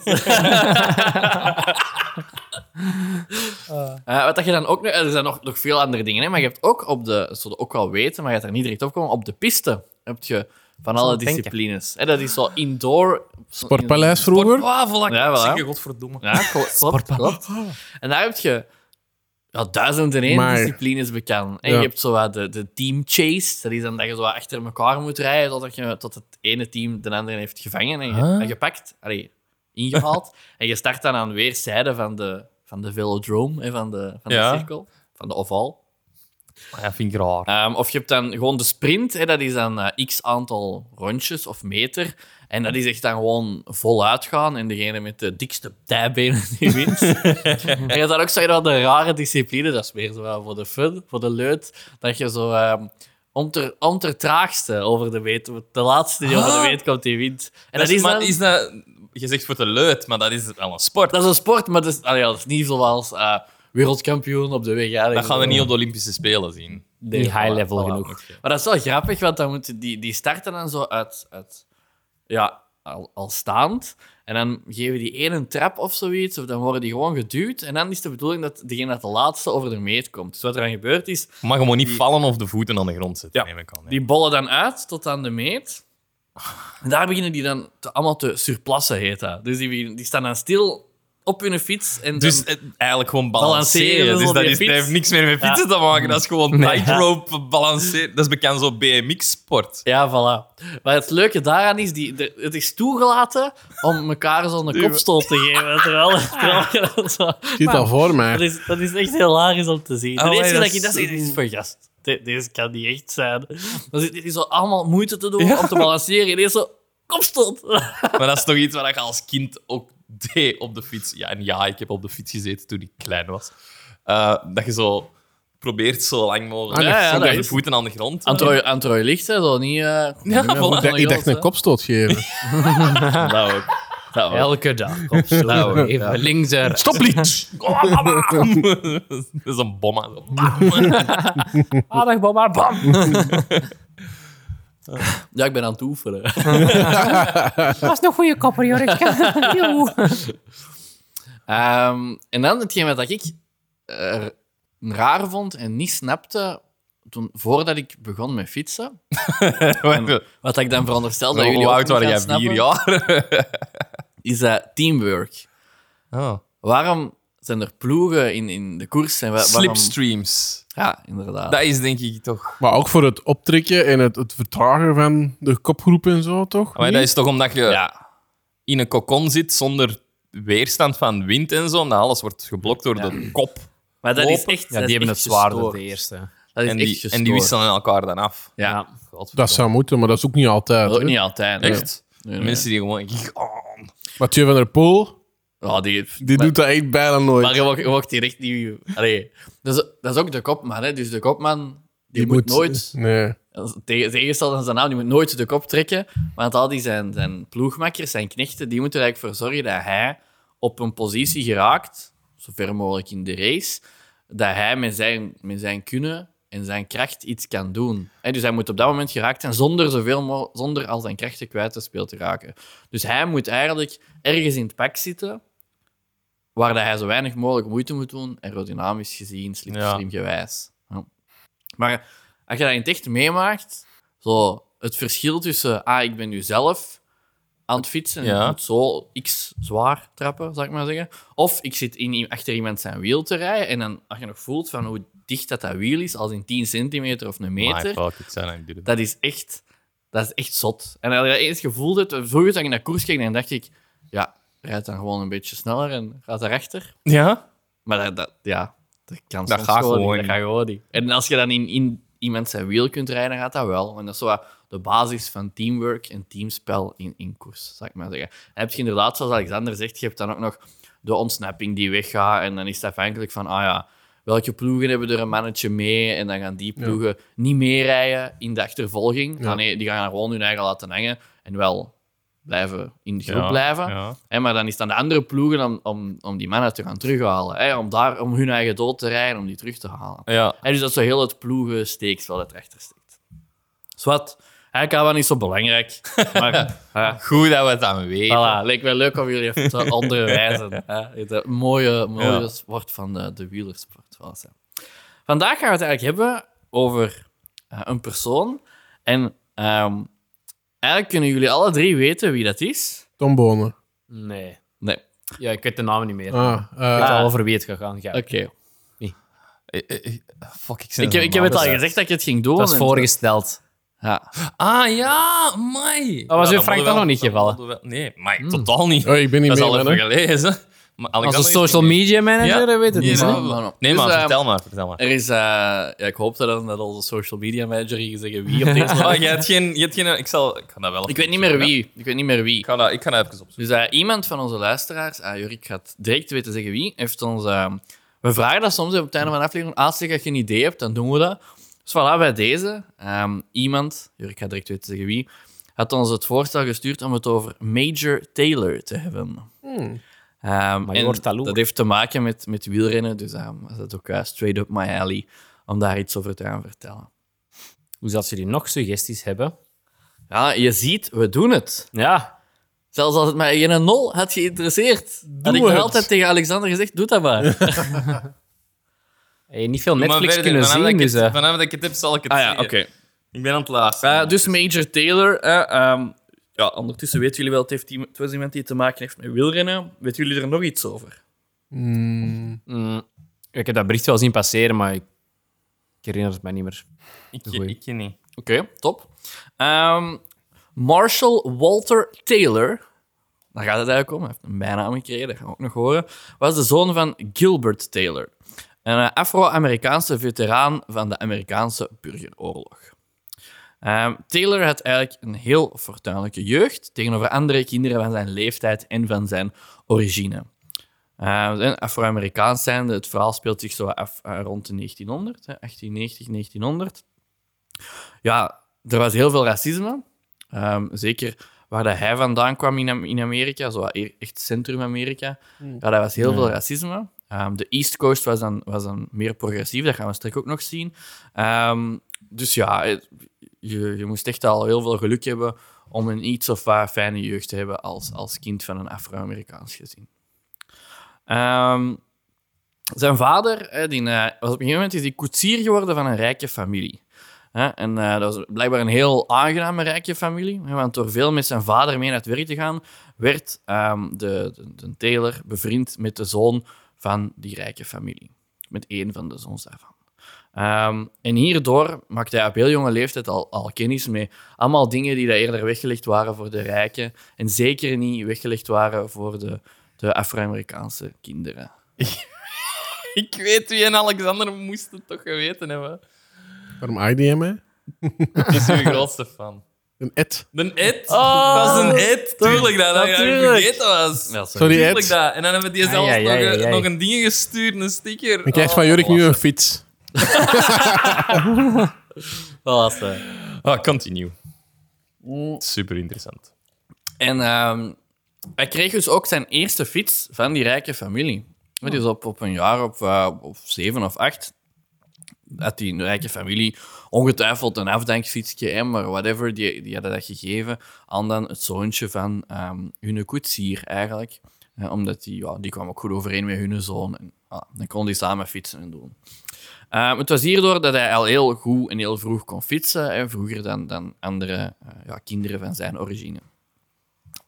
Speaker 2: Eh, wat dat je dan ook nog, er zijn nog, nog veel andere dingen, hè, maar je hebt ook op de, dat zullen ook wel weten, maar je gaat er niet direct op komen, op de piste heb je van alle
Speaker 3: het denken.
Speaker 2: disciplines. Hè, dat is zo indoor.
Speaker 4: Sportpaleis vroeger.
Speaker 1: Wafel,
Speaker 2: Ja, voilà.
Speaker 1: zeker, godverdomme.
Speaker 2: Ja, klo- klopt, klopt. En daar heb je ja, duizend en één
Speaker 4: Maar-
Speaker 2: disciplines bekend. En
Speaker 4: Ja.
Speaker 2: je hebt zo wat de, de team chase, dat is dan dat je zo wat achter elkaar moet rijden totdat, je, tot het ene team de andere heeft gevangen en, ge-
Speaker 4: Ah.
Speaker 1: Huh?
Speaker 2: en gepakt, allee, ingehaald. en je start dan aan weerszijden van de, van de velodrome, hè, van, de, van
Speaker 1: Ja.
Speaker 2: de cirkel, van de oval.
Speaker 1: Ah, Dat vind ik raar.
Speaker 2: Ehm, of je hebt dan gewoon de sprint, hè, dat is dan eh, x aantal rondjes of meter. En dat is echt dan gewoon voluit gaan. En degene met de dikste dijbenen die wint. en je hebt dan ook zo dat de rare discipline, dat is meer zo wel voor de fun, voor de leut, dat je zo ehm om, ter, om ter traagste over de weet, de laatste die over de weet komt, die wint. En dat, is,
Speaker 1: maar
Speaker 2: dan,
Speaker 1: is Ah. dat... Je zegt voor de leut, maar dat is wel een sport.
Speaker 2: dat is een sport, maar dat is, allee, ja, dat is niet zoals eh, wereldkampioen op de weg. Ja,
Speaker 1: Dat gaan we niet op de Olympische Spelen zien.
Speaker 2: Nee,
Speaker 3: Niet high
Speaker 2: voilà,
Speaker 3: level
Speaker 2: voilà.
Speaker 3: genoeg.
Speaker 2: Maar dat is wel grappig, want dan moeten die, die starten dan zo uit, uit ja, al, al staand. En dan geven die één een trap of zoiets, of dan worden die gewoon geduwd. En dan is de bedoeling dat degene dat de laatste over de meet komt. Dus wat er dan gebeurt is,
Speaker 1: Je mag gewoon niet vallen of de voeten aan de grond zitten, neem ik aan. hè.
Speaker 2: die bollen dan uit tot aan de meet. En daar beginnen die dan te, allemaal te surplassen, heet dat. Dus die, beginnen- die staan dan stil op hun fiets. En
Speaker 1: Dus
Speaker 2: dan-
Speaker 1: eh, eigenlijk gewoon
Speaker 2: Balanceren,
Speaker 1: balanceren.
Speaker 2: dus
Speaker 1: Dus
Speaker 2: op
Speaker 1: dat,
Speaker 2: je
Speaker 1: is, dat
Speaker 2: fiets.
Speaker 1: heeft niks meer met fietsen te maken. Dat is gewoon tightrope balanceren. Dat is bekend zo BMX-sport.
Speaker 2: Ja, voilà. Maar het leuke daaraan is, die, de- het is toegelaten om elkaar zo'n kopstoot te geven. Terwijl, terwijl je dat zo...
Speaker 4: Ik zie het al voor
Speaker 2: Dat
Speaker 4: mij.
Speaker 2: is, dat is echt hilarisch om te zien. De
Speaker 1: Allee,
Speaker 2: eerste
Speaker 1: dat
Speaker 2: dat je
Speaker 1: is-
Speaker 2: dat ziet, is van gast. de- Deze kan niet echt zijn. Dat is, dit is zo allemaal moeite te doen om te balanceren. En eerst zo, kopstoot.
Speaker 1: Maar dat is toch iets waar je als kind ook D op de fiets. Ja, en ja, ik heb op de fiets gezeten toen ik klein was. Eh, dat je zo probeert zo lang mogelijk.
Speaker 2: Ah, ja, ja,
Speaker 1: Zo
Speaker 2: dat
Speaker 1: met je
Speaker 2: is-
Speaker 1: voeten aan de grond.
Speaker 2: Aan het rode- aan het rode licht, hè, zo niet... eh,
Speaker 1: Ja,
Speaker 2: niet meer
Speaker 1: voilà.
Speaker 2: voeten aan de
Speaker 4: Ik
Speaker 2: grond,
Speaker 4: dacht een
Speaker 2: hè.
Speaker 4: kopstoot geven.
Speaker 2: Dat ook. Dat ook.
Speaker 3: Elke dag. Op zo.
Speaker 2: Nou,
Speaker 3: even links en rechts.
Speaker 1: Stop, lied! Oh, mama. dat is een bom. hè. Bam.
Speaker 3: Aandacht, mama. Bam.
Speaker 2: Ja, ik ben aan het oefenen.
Speaker 3: was een goede kopper, Jorik. Joe.
Speaker 2: Ehm, en dan hetgeen wat ik eh, raar vond en niet snapte toen, voordat ik begon met fietsen. Wat ik dan veronderstel dat jullie
Speaker 1: Hoe
Speaker 2: ook
Speaker 1: oud
Speaker 2: niet
Speaker 1: waren
Speaker 2: gaan
Speaker 1: jij?
Speaker 2: snappen,
Speaker 1: Vier jaar?
Speaker 2: Is dat teamwork. Eh,
Speaker 1: Oh.
Speaker 2: Waarom zijn er ploegen in, in de koers? En wa- waarom-
Speaker 1: Slipstreams.
Speaker 2: Ja, inderdaad.
Speaker 1: Dat is denk ik toch...
Speaker 4: Maar ook voor het optrekken en het, het vertragen van de kopgroep en zo, toch?
Speaker 1: Ah, Maar dat is toch omdat je
Speaker 2: ja.
Speaker 1: in een cocon zit zonder weerstand van wind en zo. En alles wordt geblokt door de kop.
Speaker 2: Maar dat is
Speaker 1: Lopen.
Speaker 2: echt
Speaker 3: Ja,
Speaker 2: dat
Speaker 3: die
Speaker 2: is
Speaker 3: hebben het
Speaker 2: echt
Speaker 3: zwaarder,
Speaker 2: gestoord.
Speaker 3: de eerste.
Speaker 2: Dat is
Speaker 1: En
Speaker 2: echt
Speaker 1: die,
Speaker 2: gestoord.
Speaker 1: en die wisselen elkaar dan af.
Speaker 2: Ja,
Speaker 3: Ja.
Speaker 4: Dat zou moeten, maar dat is ook niet altijd.
Speaker 2: ook
Speaker 4: hè.
Speaker 2: niet altijd. nee.
Speaker 1: Echt?
Speaker 2: Nee, nee.
Speaker 1: Mensen die gewoon... Oh,
Speaker 4: Mathieu van der Poel,
Speaker 2: Ja, die,
Speaker 4: die doet dat echt bijna nooit.
Speaker 2: Maar je wordt, je wordt direct nieuw. Allee, dat, is, dat is ook de kopman. Hè? Dus de kopman die, moet, nooit,
Speaker 4: Nee.
Speaker 2: als- tegen, tegenstelde aan zijn naam, die moet nooit de kop trekken. Want al die zijn, zijn ploegmakkers, zijn knechten, die moeten er eigenlijk voor zorgen dat hij op een positie geraakt, zo ver mogelijk in de race, dat hij met zijn, met zijn kunnen en zijn kracht iets kan doen. Hè, dus hij moet op dat moment geraakt zijn zonder, zoveel mo- zonder al zijn krachten kwijt te speel te raken. Dus hij moet eigenlijk ergens in het pak zitten waar dat hij zo weinig mogelijk moeite moet doen, aerodynamisch gezien, slipstream gewijs. Ja. Maar als je dat in het echt meemaakt, zo het verschil tussen, ah, ik ben nu zelf aan het fietsen, en
Speaker 1: Ja.
Speaker 2: ik moet zo x zwaar trappen, zou ik maar zeggen. Of ik zit in, achter iemand zijn wiel te rijden en dan, als je nog voelt van hoe dicht dat, dat wiel is, als in 10 centimeter of een meter,
Speaker 1: my fuck, ik zei dat ik doe dat.
Speaker 2: dat is echt, dat is echt zot. En als je dat eens gevoeld hebt, vroeger dat ik naar koers keek, dan dacht ik, ja, rijd dan gewoon een beetje sneller en gaat erachter.
Speaker 1: Ja?
Speaker 2: Maar dat, dat- ja, dat kan
Speaker 1: Dat
Speaker 2: soms
Speaker 1: gaat
Speaker 2: niet,
Speaker 1: gewoon
Speaker 2: Dat
Speaker 1: niet.
Speaker 2: gaat gewoon niet. En als je dan in, in iemand zijn wiel kunt rijden, dan gaat dat wel. En dat is zo wat de basis van teamwork en teamspel in, in koers, zou ik maar zeggen. Dan heb je inderdaad, zoals Alexander zegt, je hebt dan ook nog de ontsnapping die weggaat. En dan is het afhankelijk van, ah ja, welke ploegen hebben er een mannetje mee? En dan gaan die ploegen niet meerijden in de achtervolging. Ah nee, die gaan gewoon hun eigen laten hangen. En wel blijven in de groep
Speaker 1: Ja,
Speaker 2: blijven.
Speaker 1: ja.
Speaker 2: Hè, maar dan is het aan de andere ploegen om, om, om die mannen te gaan terughalen. Hè, om, daar, om hun eigen dood te rijden, om die terug te halen.
Speaker 1: Ja.
Speaker 2: Hè, dus dat is zo heel het ploegen steeksel dat erachter steekt. Zwat, eigenlijk allemaal niet zo belangrijk. Maar ja, Ah.
Speaker 1: Goed dat we het aan weten.
Speaker 2: voilà, leek mij leuk om jullie even te onderwijzen. Hè. Het eh, mooie, mooie
Speaker 1: Ja.
Speaker 2: sport van de, de wielersport. zoals, hè. Vandaag gaan we het eigenlijk hebben over eh, een persoon. En ehm, eigenlijk kunnen jullie alle drie weten wie dat is.
Speaker 4: Tom Bonen.
Speaker 3: Nee.
Speaker 2: Nee,
Speaker 3: Ja, ik weet de naam niet meer. Ik
Speaker 4: Ah, eh,
Speaker 3: weet al over wie het gaat gaan. Ja.
Speaker 2: oké.
Speaker 1: Eh, eh, eh, Fuck, ik zei
Speaker 2: Ik,
Speaker 1: dat
Speaker 2: heb- ik heb het al
Speaker 1: normaal.
Speaker 2: gezegd dat ik het ging doen.
Speaker 3: Dat is
Speaker 2: en-
Speaker 3: voorgesteld.
Speaker 2: Ja.
Speaker 1: Ah ja, mai.
Speaker 3: was u, Frank, dan nog niet gevallen?
Speaker 1: Nee, mai, totaal niet.
Speaker 4: oh, ik ben niet
Speaker 1: dat is
Speaker 4: mee,
Speaker 1: al even
Speaker 4: man, hè.
Speaker 1: gelezen. Maar
Speaker 3: Als
Speaker 1: Alexander
Speaker 3: een
Speaker 1: heeft
Speaker 3: social
Speaker 1: niet-
Speaker 3: media manager,
Speaker 1: Ja.
Speaker 3: weet het
Speaker 1: Nee,
Speaker 3: niet.
Speaker 2: Ja.
Speaker 3: hè?
Speaker 1: maar-
Speaker 2: Nou, nou.
Speaker 1: Nee, maar
Speaker 2: Dus, ehm,
Speaker 1: vertel maar. Vertel maar.
Speaker 2: Er is, eh, ja, ik hoopte dan dat onze social media manager ging zeggen wie op deze
Speaker 1: Ah, je hebt geen, je hebt geen... Ik zal... Ik ga dat wel even
Speaker 2: Ik weet niet meer
Speaker 1: opzoeken,
Speaker 2: wie. Ik weet niet meer
Speaker 1: hè. Ik
Speaker 2: wie.
Speaker 1: ga dat, ik ga dat even opzoeken.
Speaker 2: Dus eh, iemand van onze luisteraars, ah, Jurik gaat direct weten zeggen wie, heeft ons... eh, we vragen dat soms op het einde van de aflevering. Als je geen idee hebt, dan doen we dat. Dus voilà, bij deze. ehm, iemand, Jurik gaat direct weten zeggen wie, had ons het voorstel gestuurd om het over Major Taylor te hebben. Ehm,
Speaker 3: Hmm. Maar je
Speaker 2: en
Speaker 3: wordt jaloers.
Speaker 2: dat heeft te maken met, met wielrennen, dus ehm, is dat ook eh, straight up my alley om daar iets over te gaan vertellen.
Speaker 3: Dus als jullie nog suggesties hebben.
Speaker 2: Ja, je ziet, we doen het.
Speaker 3: Ja.
Speaker 2: Zelfs als het maar een nul had geïnteresseerd. had ik
Speaker 4: we
Speaker 2: nog
Speaker 4: het.
Speaker 2: altijd tegen Alexander gezegd, doe dat maar.
Speaker 3: Hey, niet veel
Speaker 1: Maar
Speaker 3: Netflix
Speaker 1: verder,
Speaker 3: kunnen
Speaker 1: vanaf
Speaker 3: zien.
Speaker 1: dat ik
Speaker 3: Dus,
Speaker 1: het-
Speaker 3: eh,
Speaker 1: Vanaf dat ik het heb, zal
Speaker 2: Ah,
Speaker 1: ik het zeggen. Ik ben aan het
Speaker 2: Eh,
Speaker 1: laatste.
Speaker 2: dus Major Taylor. eh, ehm, ja, ondertussen weten jullie wel, het, heeft iemand, het was iemand die te maken heeft met wielrennen. Weten jullie er nog iets over?
Speaker 4: Mm,
Speaker 3: mm, ik heb dat bericht wel zien passeren, maar ik, ik herinner het mij niet meer.
Speaker 1: Ik,
Speaker 3: Goeie.
Speaker 1: ik, ik niet.
Speaker 2: Oké, top. Ehm, Marshall Walter Taylor. Daar gaat het eigenlijk om. Hij heeft een bijnaam gekregen, dat gaan we ook nog horen. Was de zoon van Gilbert Taylor. Een eh, Afro-Amerikaanse veteraan van de Amerikaanse burgeroorlog. Ehm, Taylor had eigenlijk een heel fortuinlijke jeugd tegenover andere kinderen van zijn leeftijd en van zijn origine. Ehm, en Afro-Amerikaans zijnde, het verhaal speelt zich zo af eh, rond de 1900, hè, 1890, 1900. Ja, er was heel veel racisme. Ehm, zeker waar dat hij vandaan kwam in, Am- in Amerika, zo e- echt Centrum-Amerika. Ja, dat was heel veel racisme. Ehm, de East Coast was dan, was dan meer progressief, dat gaan we straks ook nog zien. Ehm, dus ja, het- je, je moest echt al heel veel geluk hebben om een iets of waar fijne jeugd te hebben als, als kind van een Afro-Amerikaans gezin. Ehm, zijn vader hè, die, eh, was op een gegeven moment is hij koetsier geworden van een rijke familie. Hè, en eh, dat was blijkbaar een heel aangename rijke familie. hè, want door veel met zijn vader mee naar het werk te gaan, werd ehm, de, de, de Taylor bevriend met de zoon van die rijke familie. Met één van de zoons daarvan. Ehm, en hierdoor maakte hij op heel jonge leeftijd al, al kennis mee. Allemaal dingen die daar eerder weggelegd waren voor de rijken. En zeker niet weggelegd waren voor de, de Afro-Amerikaanse kinderen.
Speaker 1: Ik weet wie en Alexander moest het toch geweten hebben.
Speaker 4: Waarom aaide jij mij?
Speaker 1: Dat is uw grootste fan.
Speaker 4: Een Ed.
Speaker 1: De Ed?
Speaker 4: Oh,
Speaker 1: dat was een Ed. Tuurlijk dat, dat ik dat
Speaker 2: natuurlijk.
Speaker 1: vergeten was.
Speaker 2: Ja,
Speaker 4: Sorry,
Speaker 1: Tuurlijk
Speaker 4: Ed.
Speaker 1: dat. En dan hebben die
Speaker 3: Ah,
Speaker 1: zelfs
Speaker 3: ja, ja,
Speaker 1: nog,
Speaker 3: ja,
Speaker 1: een-
Speaker 3: ja.
Speaker 1: nog een ding gestuurd, een sticker.
Speaker 4: Ik krijg
Speaker 1: Oh.
Speaker 4: van Jurk nu een fiets.
Speaker 3: eh.
Speaker 1: Ah, continue. Super interessant.
Speaker 2: En ehm, hij kreeg dus ook zijn eerste fiets van die rijke familie. Hè, Dus op, op een jaar of, eh, of zeven of acht had die rijke familie ongetwijfeld een afdankfietsje, hè, maar whatever, die, die hadden dat gegeven aan dan het zoontje van ehm hun koetsier eigenlijk. Hè, omdat die, ja, die kwam ook goed overeen met hun zoon. En, ah, dan kon die samen fietsen en doen. Ehm, het was hierdoor dat hij al heel goed en heel vroeg kon fietsen, hè, vroeger dan, dan andere eh, ja, kinderen van zijn origine.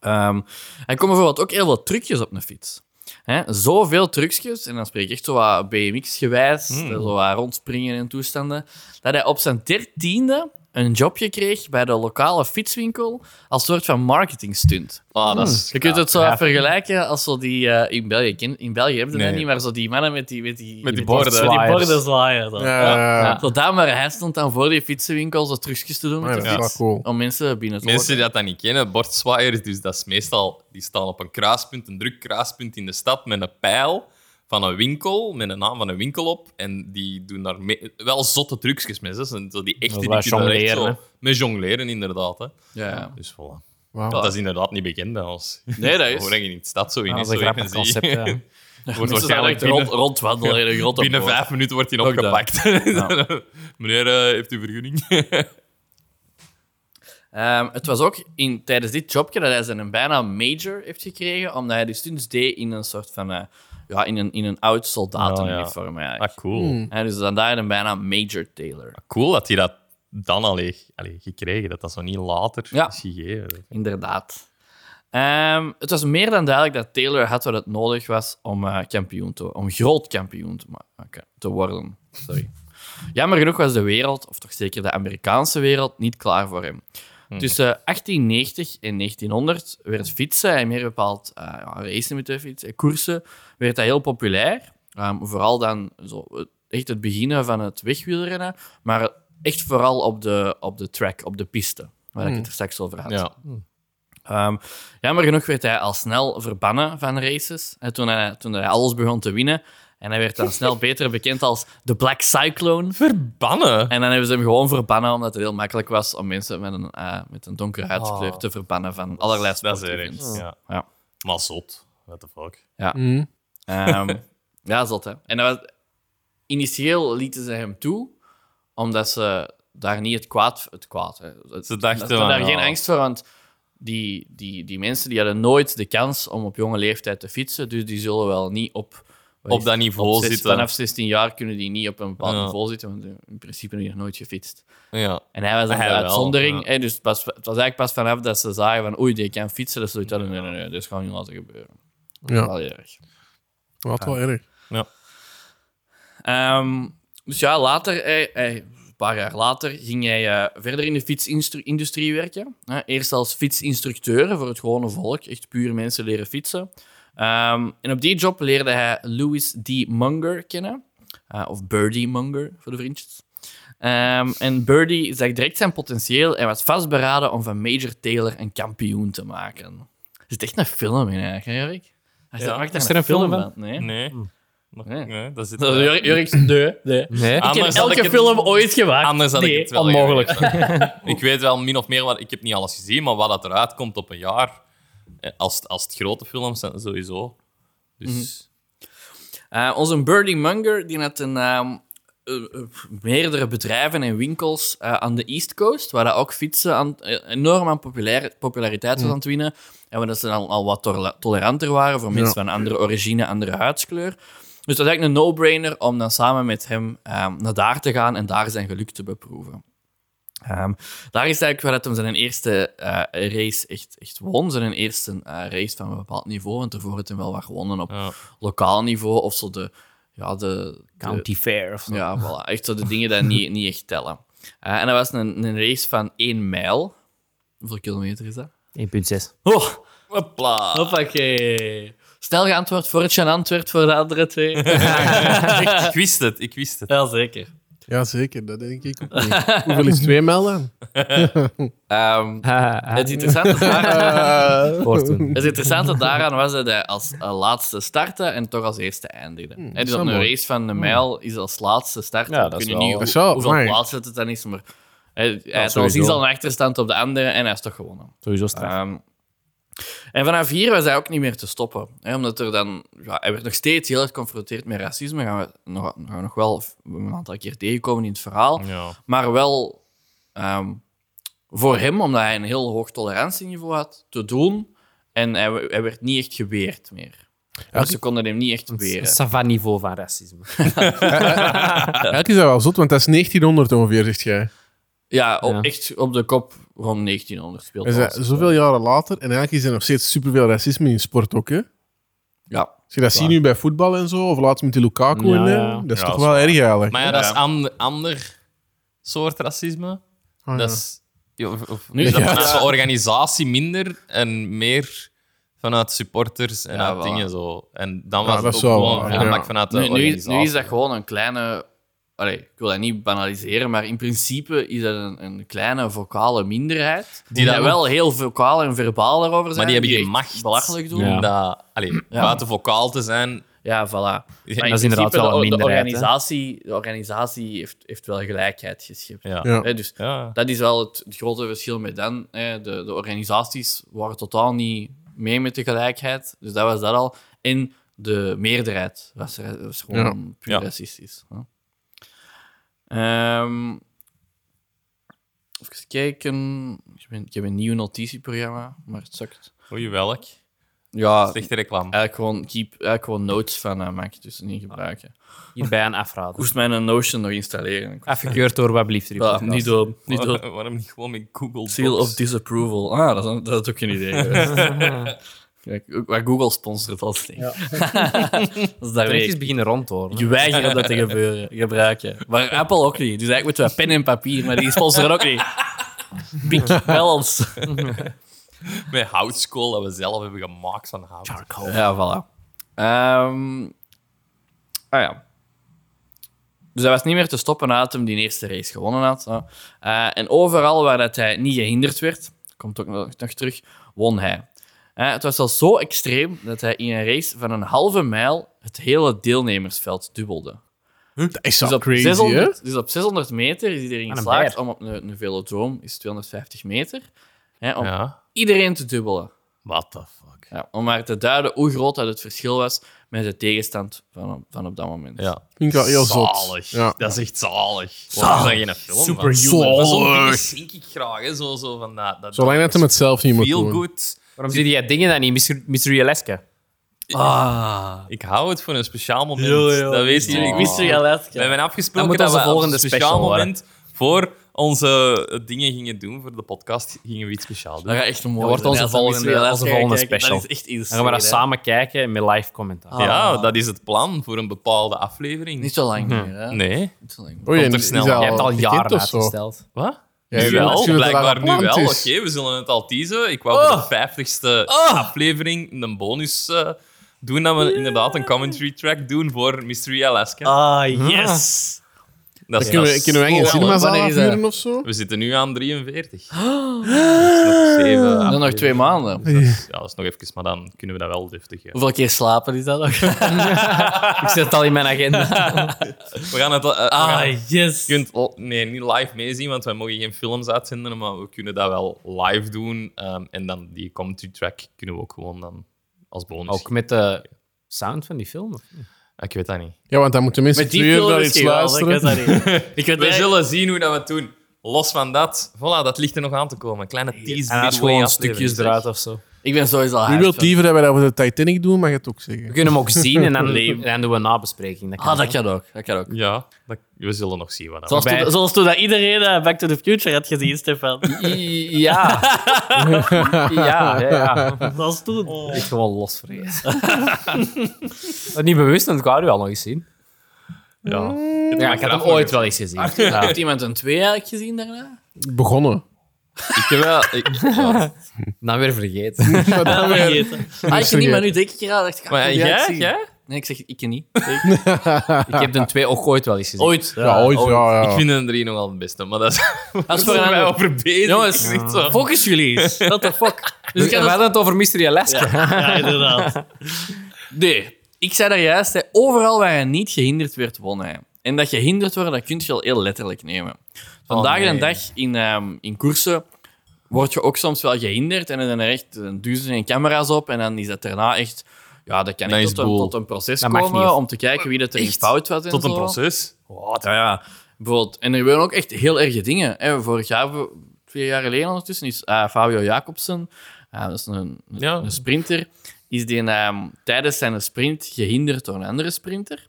Speaker 2: Ehm hij kon bijvoorbeeld ook heel veel trucjes op een fiets. Hè, zoveel trucjes, en dan spreek ik echt zo wat BMX-gewijs,
Speaker 1: Hmm.
Speaker 2: eh, zo wat rondspringen en toestanden, dat hij op zijn dertiende een jobje kreeg bij de lokale fietswinkel als soort van marketing stunt.
Speaker 1: Ah, dat is...
Speaker 2: Je kunt het zo
Speaker 3: Ja.
Speaker 2: vergelijken als zo die... eh, in, België, ken- in België hebben ze dat
Speaker 1: Nee.
Speaker 2: niet, maar zo die mannen met die... Met die,
Speaker 1: Met die
Speaker 3: borden.
Speaker 2: Met die borden zwaaien. zo.
Speaker 4: Ja,
Speaker 2: Zo daar, maar hij stond dan voor die fietsenwinkel zo trucjes te doen met
Speaker 4: Ja,
Speaker 2: de
Speaker 4: dat is wel
Speaker 2: fiets.
Speaker 4: cool.
Speaker 2: Om mensen binnen te
Speaker 1: Mensen
Speaker 2: lokken.
Speaker 1: die dat dan niet kennen, bordzwaaiers, dus dat is meestal... Die staan op een kruispunt, een druk kruispunt in de stad met een pijl van een winkel, met een naam van een winkel op. En die doen daar me- wel zotte trucjes mee. Zo zo die echte... die
Speaker 3: Dat is waar
Speaker 1: kunnen daar echt
Speaker 3: jongleren,
Speaker 1: zo- Met jongleren, inderdaad. Hè.
Speaker 2: Ja.
Speaker 1: Dus voilà.
Speaker 4: Wauw.
Speaker 3: Oh.
Speaker 1: Dat is inderdaad niet bekend bij ons.
Speaker 2: Nee, dat
Speaker 1: Hoe
Speaker 2: is...
Speaker 1: breng je in de stad zo in?
Speaker 3: Ah,
Speaker 1: is
Speaker 3: dat is een
Speaker 1: zo
Speaker 3: grappig
Speaker 1: iemand die-
Speaker 3: concept, eh.
Speaker 1: Wordt
Speaker 2: Mensen staan
Speaker 1: waarschijnlijk
Speaker 2: echt
Speaker 1: binnen,
Speaker 2: rond, rondwandelen in een grot op
Speaker 1: binnen
Speaker 2: boord.
Speaker 1: vijf minuten wordt hij
Speaker 2: Ook dat.
Speaker 1: opgepakt. Meneer, eh, heeft u vergunning?
Speaker 2: Ehm, het was ook in, tijdens dit jobje dat hij zijn een bijna major heeft gekregen, omdat hij de stunts deed in een soort van... eh, ja, in een, in een oud soldatenuniform eigenlijk.
Speaker 1: Ah, cool.
Speaker 3: Hmm.
Speaker 2: Hè, dus dan daar een bijna major Taylor.
Speaker 1: Cool dat hij dat dan al heeft allee, gekregen, dat dat zo niet later
Speaker 2: Ja.
Speaker 1: is gegeven.
Speaker 2: Inderdaad. Ehm, het was meer dan duidelijk dat Taylor had wat het nodig was om eh, kampioen te om groot kampioen te, ma- oké, te worden. Sorry. Jammer genoeg was de wereld, of toch zeker de Amerikaanse wereld, niet klaar voor hem. Tussen 1890 en 1900 werd fietsen, en meer bepaald eh, ja, racen met de fiets, eh, koersen, werd dat heel populair. Ehm, vooral dan zo, eh, echt het beginnen van het wegwielrennen, maar echt vooral op de, op de track, op de piste, waar ik het er straks over had.
Speaker 1: Ja.
Speaker 2: Ehm jammer genoeg werd hij al snel verbannen van races. En toen, hij, toen hij alles begon te winnen. En hij werd dan snel beter bekend als de Black Cyclone.
Speaker 1: Verbannen?
Speaker 2: En dan hebben ze hem gewoon verbannen, omdat het heel makkelijk was om mensen met een, eh, met een donkere huidskleur te verbannen van allerlei
Speaker 1: Oh. Dat is
Speaker 2: sportevents.
Speaker 1: erg. Ja.
Speaker 2: Ja.
Speaker 1: Maar zot. What the fuck.
Speaker 2: Ehm, ja, zot, hè. En dat was, initieel lieten ze hem toe, omdat ze daar niet het kwaad... Het kwaad hè.
Speaker 1: Ze dachten
Speaker 2: Ze hadden daar
Speaker 1: van,
Speaker 2: geen
Speaker 1: ja.
Speaker 2: angst voor, want die, die, die mensen die hadden nooit de kans om op jonge leeftijd te fietsen, dus die zullen wel niet op... wat
Speaker 1: Op
Speaker 2: is
Speaker 1: dat
Speaker 2: het?
Speaker 1: niveau
Speaker 2: Op zes-
Speaker 1: zitten.
Speaker 2: Vanaf 16 jaar kunnen die niet op een bepaald
Speaker 1: Ja.
Speaker 2: niveau zitten, want in principe hebben die nog nooit gefietst.
Speaker 1: Ja.
Speaker 2: En hij was een
Speaker 1: Hij wel,
Speaker 2: uitzondering.
Speaker 1: ja.
Speaker 2: hè, dus het was, het was eigenlijk pas vanaf dat ze zagen van oei, die kan fietsen, dat ze zoiets hadden, nee, nee, nee, dat is gewoon niet laten gebeuren.
Speaker 4: Ja.
Speaker 2: Wel erg.
Speaker 4: Wat wel erg.
Speaker 2: Ehm, dus ja, later, hij- hij- een paar jaar later, ging hij eh, verder in de fietsindustrie werken. Hè, eerst als fietsinstructeur voor het gewone volk, echt puur mensen leren fietsen. Ehm, en op die job leerde hij Louis D. Munger kennen, eh, of Birdie Munger voor de vriendjes. Ehm, en Birdie zag direct zijn potentieel en was vastberaden om van Major Taylor een kampioen te maken. Er zit echt een film in, eigenlijk, hè, Jorik? Hij
Speaker 1: Ja.
Speaker 2: maakt daar
Speaker 3: Is er een film van?
Speaker 2: Nee.
Speaker 1: Nee.
Speaker 3: Hmm.
Speaker 1: Nog-
Speaker 2: Nee.
Speaker 1: nee, dat zit
Speaker 2: Dat is Jorik, Jorik zegt, nee, nee.
Speaker 3: Nee.
Speaker 2: Ik heb
Speaker 1: Anders had
Speaker 2: elke
Speaker 1: ik het-
Speaker 2: film ooit gemaakt.
Speaker 1: Anders had
Speaker 2: nee,
Speaker 1: ik het wel
Speaker 2: onmogelijk.
Speaker 1: gegeven. ik weet wel min of meer, wat, ik heb niet alles gezien, maar wat dat eruit komt op een jaar, eh, als, het- als het grote films zijn, sowieso. Dus
Speaker 2: Eh, onze Birdie Munger die had een, ehm, eh, eh, meerdere bedrijven en winkels eh, aan de East Coast, waar dat ook fietsen aan, eh, enorm aan populair- populariteit was aan het winnen. En waar dat ze dan al wat tola- toleranter waren voor mensen van andere origine, andere huidskleur. Dus dat is eigenlijk een no-brainer om dan samen met hem ehm, naar daar te gaan en daar zijn geluk te beproeven. Ehm, daar is eigenlijk waar dat hem zijn eerste eh, race echt, echt won. Zijn eerste eh, race van een bepaald niveau, want daarvoor had hij wel wat gewonnen op
Speaker 1: ja.
Speaker 2: lokaal niveau of zo de. Ja, de, de-
Speaker 3: County Fair of zo.
Speaker 2: ja, voilà. Echt zo de dingen die niet, niet echt tellen. Eh, en dat was een, een race van 1 mijl. Hoeveel kilometer is dat?
Speaker 3: 1.6.
Speaker 2: Oh,
Speaker 1: Hopla.
Speaker 2: hoppakee. Snel geantwoord voor het gênant werd voor de andere twee. Mhm.
Speaker 1: Ik wist het, ik wist het.
Speaker 2: Wel zeker.
Speaker 4: Ja, zeker. Dat denk ik ook niet. Hoeveel is twee melden?
Speaker 2: Ehm, het, interessante daar-
Speaker 3: Korten.
Speaker 2: het interessante daaraan was dat hij als eh, laatste startte en toch als eerste eindigde. Hè, dus
Speaker 4: zo
Speaker 2: op een
Speaker 4: mooi.
Speaker 2: race van een mijl is als laatste starten.
Speaker 3: Ja,
Speaker 2: We
Speaker 3: dat is
Speaker 2: kunnen
Speaker 3: wel-
Speaker 2: niet
Speaker 4: Dat is
Speaker 2: hoe-
Speaker 4: wel
Speaker 2: hoeveel
Speaker 4: mooi.
Speaker 2: plaatsen het dan is, maar eh, hij, hij had al
Speaker 3: sowieso.
Speaker 2: sinds al een achterstand op de andere en hij is toch gewonnen.
Speaker 3: Sowieso straf.
Speaker 2: Ehm, en vanaf hier was hij ook niet meer te stoppen. Hè, omdat er dan, ja, hij werd nog steeds heel erg geconfronteerd met racisme. Gaan we nog, gaan we nog wel een aantal keer tegenkomen in het verhaal.
Speaker 1: Ja.
Speaker 2: Maar wel ehm, voor hem, omdat hij een heel hoog tolerantieniveau had, te doen. En hij, hij werd niet echt geweerd meer. Dus ze konden hem niet echt weren.
Speaker 3: Savanniveau van racisme.
Speaker 4: Eigenlijk is dat wel zot, want dat is 1900 ongeveer, zegt jij.
Speaker 2: Ja, op,
Speaker 3: Ja.
Speaker 2: echt op de kop rond 1900 speelt
Speaker 4: En
Speaker 2: dat.
Speaker 4: ze- zoveel jaren later, en eigenlijk is er nog steeds superveel racisme in sport ook, hè?
Speaker 2: Ja.
Speaker 4: Als je dat ziet nu bij voetbal en zo, of laatst met die Lukaku
Speaker 3: Ja,
Speaker 4: en, eh,
Speaker 3: ja.
Speaker 4: dat is
Speaker 1: Ja,
Speaker 4: toch
Speaker 1: dat is
Speaker 4: wel erg eigenlijk.
Speaker 1: Maar ja, dat is een ander soort racisme.
Speaker 4: Oh, ja.
Speaker 1: Dat is, ja, of, of-
Speaker 2: Nu-
Speaker 1: is dat
Speaker 4: Ja.
Speaker 1: vanuit de organisatie minder en meer vanuit supporters en
Speaker 2: Ja,
Speaker 1: uit
Speaker 2: voilà.
Speaker 1: dingen zo. En dan
Speaker 4: Ja,
Speaker 1: was
Speaker 4: dat
Speaker 1: het ook
Speaker 4: is wel
Speaker 1: gewoon
Speaker 4: waar,
Speaker 1: een aanpak
Speaker 4: ja.
Speaker 1: vanuit de
Speaker 2: Nu, nu, is-
Speaker 1: eh, organisatie.
Speaker 2: nu is dat gewoon een kleine. Allee, ik wil dat niet banaliseren, maar in principe is dat een, een kleine vocale minderheid. Die,
Speaker 1: Die dat
Speaker 2: daar wel heel vocaal en verbaal erover
Speaker 1: maar
Speaker 2: zijn.
Speaker 1: die hebben geen
Speaker 2: echt
Speaker 1: macht.
Speaker 2: Belachelijk doen.
Speaker 3: Ja.
Speaker 1: om Dat, allee, buiten vocaal te zijn.
Speaker 2: Ja, voilà.
Speaker 1: Ja,
Speaker 2: Maar in
Speaker 3: dat is inderdaad
Speaker 2: principe
Speaker 3: wel
Speaker 2: de-
Speaker 3: een minderheid,
Speaker 2: De organisatie, de organisatie heeft, heeft wel gelijkheid geschept.
Speaker 1: Ja.
Speaker 4: Ja.
Speaker 2: Hè, dus
Speaker 1: Ja.
Speaker 2: dat is wel het, het grote verschil met dan. Hè. De, de organisaties waren totaal niet mee met de gelijkheid. Dus dat was dat al. En de meerderheid was, ra- was gewoon puur
Speaker 1: Ja.
Speaker 2: racistisch. hè. Ehm, even kijken. Ik, ben, ik heb een nieuw notitieprogramma, maar het zakt.
Speaker 1: Oei, welk?
Speaker 2: Ja,
Speaker 1: Slechte reclame.
Speaker 2: eigenlijk gewoon, keep, eigenlijk gewoon notes van eh, maak ik dus niet gebruiken.
Speaker 3: Hierbij een afraden.
Speaker 2: Moest mijn eh, Notion nog installeren.
Speaker 3: Afgekeurd door wat blieft.
Speaker 2: Ah, Ja, niet doen, Eh, niet doen.
Speaker 1: Waarom- Waarom niet gewoon met Google
Speaker 2: Seal
Speaker 1: Docs?
Speaker 2: of disapproval. Ah, dat is, een- dat is ook een idee. geweest. Kijk, ook- waar Google sponsort als ding. dat is daar
Speaker 3: Rechtjes
Speaker 2: weer.
Speaker 3: beginnen rond te horen.
Speaker 2: Je weigeren dat te gebeuren, gebruiken. Maar Apple ook niet. Dus eigenlijk moeten we pen en papier, maar die sponsoren ook niet. Big balance.
Speaker 1: Met houtskool dat we zelf hebben gemaakt van hout.
Speaker 2: Ja, voilà. Ehm, ah ja. Dus hij was niet meer te stoppen nadat hij die eerste race gewonnen had. hè. Eh, en overal waar dat hij niet gehinderd werd, komt ook nog, nog terug, won hij. Eh, het was al zo extreem dat hij in een race van een halve mijl het hele deelnemersveld dubbelde.
Speaker 4: Dat is
Speaker 2: Dus
Speaker 4: wel
Speaker 2: op,
Speaker 4: crazy, hè?
Speaker 2: 600, dus op 600 meter is iedereen
Speaker 3: Aan een
Speaker 2: geslaagd
Speaker 3: bijer.
Speaker 2: om op een, een velodroom, is 250 meter, hè, om
Speaker 1: Ja.
Speaker 2: iedereen te dubbelen.
Speaker 1: What the fuck?
Speaker 2: Ja, om maar te duiden hoe groot dat het verschil was met de tegenstand van op, van op dat moment.
Speaker 1: Ja.
Speaker 4: Vind ik wel heel zot.
Speaker 1: zalig.
Speaker 4: Ja.
Speaker 1: Dat is echt zalig. Waarom is dat geen film?
Speaker 4: Superhuman.
Speaker 1: Van? Zo'n dingen schenk ik graag. Hè. Zo, zo van dat, dat,
Speaker 4: Zolang dat hem het zelf niet moet
Speaker 1: Feel
Speaker 4: doen.
Speaker 1: good.
Speaker 3: Waarom zie jij dingen dan niet? Miss- Mystery Alaska.
Speaker 2: Ah.
Speaker 1: Ik hou het voor een speciaal moment. dat
Speaker 2: Dat
Speaker 1: weet je.
Speaker 2: Ik wist er al uit.
Speaker 1: We hebben afgesproken
Speaker 3: Dat
Speaker 1: dat,
Speaker 3: moet onze
Speaker 1: we als
Speaker 3: volgende
Speaker 1: speciaal
Speaker 3: special worden.
Speaker 1: moment voor onze eh, dingen gingen doen, voor de podcast, gingen we iets speciaal doen.
Speaker 2: Dat gaat echt een mooi
Speaker 3: Dat wordt onze
Speaker 2: zijn. Als we
Speaker 3: volgende-
Speaker 2: Mystery Alaska
Speaker 3: onze volgende
Speaker 2: kijken,
Speaker 3: special.
Speaker 2: Dat is echt insane.
Speaker 3: Dan gaan we dat
Speaker 2: hè.
Speaker 3: samen kijken met live commentaar.
Speaker 1: Ja,
Speaker 4: Ah.
Speaker 1: dat is het plan voor een bepaalde aflevering.
Speaker 2: Niet zo lang
Speaker 1: Mhm.
Speaker 2: meer, hè?
Speaker 1: Nee.
Speaker 2: Niet zo lang meer.
Speaker 4: Oei,
Speaker 1: Komt
Speaker 4: en
Speaker 1: er
Speaker 4: is
Speaker 1: snel.
Speaker 4: dat
Speaker 1: Jij
Speaker 3: Je hebt
Speaker 4: al
Speaker 3: al
Speaker 4: gekend
Speaker 3: jaren
Speaker 4: of zo?
Speaker 3: uitgesteld.
Speaker 1: Wat?
Speaker 4: Ja,
Speaker 1: Nu
Speaker 4: ik denk
Speaker 1: wel,
Speaker 4: dat dat al
Speaker 1: blijkbaar nu
Speaker 4: gepland
Speaker 1: wel. Oké,
Speaker 4: is. Oh.
Speaker 1: we zullen het al teasen. Ik wou voor de 50ste aflevering een bonus eh, doen, dat we inderdaad een commentary track doen voor Mystery Alaska.
Speaker 3: Ah, yes!
Speaker 1: Dat is-
Speaker 4: Ah. Kunnen
Speaker 1: dat
Speaker 4: we,
Speaker 1: is
Speaker 4: kunnen we geen
Speaker 1: snel, hè.
Speaker 2: cinema's-
Speaker 4: cinemazaal
Speaker 2: wanneer is dat?
Speaker 4: afhuren of zo?
Speaker 1: We zitten nu aan 43.
Speaker 4: Oh.
Speaker 1: Dus nog zeven
Speaker 2: Dan nog
Speaker 1: afleveringen.
Speaker 2: twee maanden.
Speaker 1: Dus dat is- ja, dat is nog even, maar dan kunnen we dat wel deftig. eh.
Speaker 2: Hoeveel keer slapen is dat nog?
Speaker 3: Ik zet het al in mijn agenda.
Speaker 1: We gaan het. eh, we
Speaker 4: Ah,
Speaker 1: gaan-
Speaker 2: Ah, yes.
Speaker 1: Je kunt l- nee, niet live meezien, want wij mogen geen films uitzenden, maar we kunnen dat wel live doen. Ehm, en dan die commentary track kunnen we ook gewoon dan als bonus.
Speaker 3: Ook met de sound van die film. of niet?
Speaker 1: Ik weet dat niet.
Speaker 4: Ja, want dan moeten mensen twee uur naar iets luisteren.
Speaker 2: Ik weet
Speaker 1: We
Speaker 2: niet.
Speaker 1: zullen zien hoe dat we het doen. Los van dat, voilà, dat ligt er nog aan te komen. Kleine tease.
Speaker 3: En als
Speaker 1: midway
Speaker 3: gewoon
Speaker 1: aflevering,
Speaker 3: stukjes
Speaker 1: zeg.
Speaker 3: eruit of zo.
Speaker 2: Ik ben sowieso al
Speaker 4: U
Speaker 2: hyped
Speaker 4: wilt
Speaker 2: van-
Speaker 4: liever dat we dat voor de Titanic doen, mag je het ook zeggen.
Speaker 3: We kunnen hem ook zien en dan, dan doen we een nabespreking. Dat kan
Speaker 2: Ah, dat
Speaker 3: ook.
Speaker 2: kan ook. Dat kan ook.
Speaker 1: Ja, dat- we zullen nog zien wat dat
Speaker 2: Zoals,
Speaker 1: wordt.
Speaker 2: toen, zoals toen dat iedereen eh, Back to the Future had gezien, Stefan.
Speaker 3: I- Ja. ja, ja, ja.
Speaker 2: Zoals toen.
Speaker 3: Echt gewoon losvrees. dat Eh, niet bewust, want ik wou u al nog eens zien.
Speaker 1: Ja.
Speaker 3: Ja, ik had hem ooit wel eens gezien.
Speaker 2: Heeft iemand een twee eigenlijk gezien daarna? Ah,
Speaker 4: Begonnen.
Speaker 1: Ik heb wel... Ik, ja.
Speaker 3: Dan weer vergeten.
Speaker 4: Maar dan weer-
Speaker 2: Ah, ik niet, maar nu denk ik eraan. Dacht ik, ah,
Speaker 1: Maar
Speaker 2: ik wil die
Speaker 1: jij?
Speaker 2: eigenlijk zien.
Speaker 1: Jij?
Speaker 2: Nee, ik zeg ik niet.
Speaker 3: ik heb de twee ook ooit wel eens gezien.
Speaker 2: Ooit.
Speaker 4: Ja, ooit. Ja,
Speaker 1: ik
Speaker 4: ja.
Speaker 1: vind de drie nogal het beste, maar dat is...
Speaker 2: Dat is
Speaker 1: Daar
Speaker 2: voor
Speaker 1: zijn
Speaker 2: een
Speaker 1: wij
Speaker 2: ander.
Speaker 1: over bezig.
Speaker 2: Jongens,
Speaker 1: Het is echt zo.
Speaker 2: Focus jullie eens. What the fuck? Dus
Speaker 3: Dus
Speaker 2: ik
Speaker 3: we
Speaker 2: had het-
Speaker 3: hadden het over Mystery Alaska.
Speaker 2: Ja, inderdaad. Nee, ik zei daar juist, hè, overal waar je niet gehinderd werd, won hij. En dat gehinderd worden, dat kun je wel heel letterlijk nemen. Vandaag
Speaker 1: Oh, nee.
Speaker 2: de dag in, ehm, in koersen word je ook soms wel gehinderd en dan zijn er echt eh, duizenden camera's op en dan is dat daarna echt... Ja, dat kan
Speaker 1: Dat
Speaker 2: echt
Speaker 1: is
Speaker 2: tot een,
Speaker 1: boel.
Speaker 2: tot een proces
Speaker 3: Dat mag
Speaker 2: komen
Speaker 3: niet, of-
Speaker 2: om te kijken wie dat er in
Speaker 1: Echt?
Speaker 2: fout was en
Speaker 1: Tot een
Speaker 2: zo.
Speaker 1: proces.
Speaker 2: Wat? Ja, ja. Bijvoorbeeld, en er gebeuren ook echt heel erge dingen. Hè. Vorig jaar, twee jaar geleden ondertussen, is eh, Fabio Jacobsen, eh, dat is een,
Speaker 1: Ja.
Speaker 2: een sprinter, is die ehm, tijdens zijn sprint gehinderd door een andere sprinter.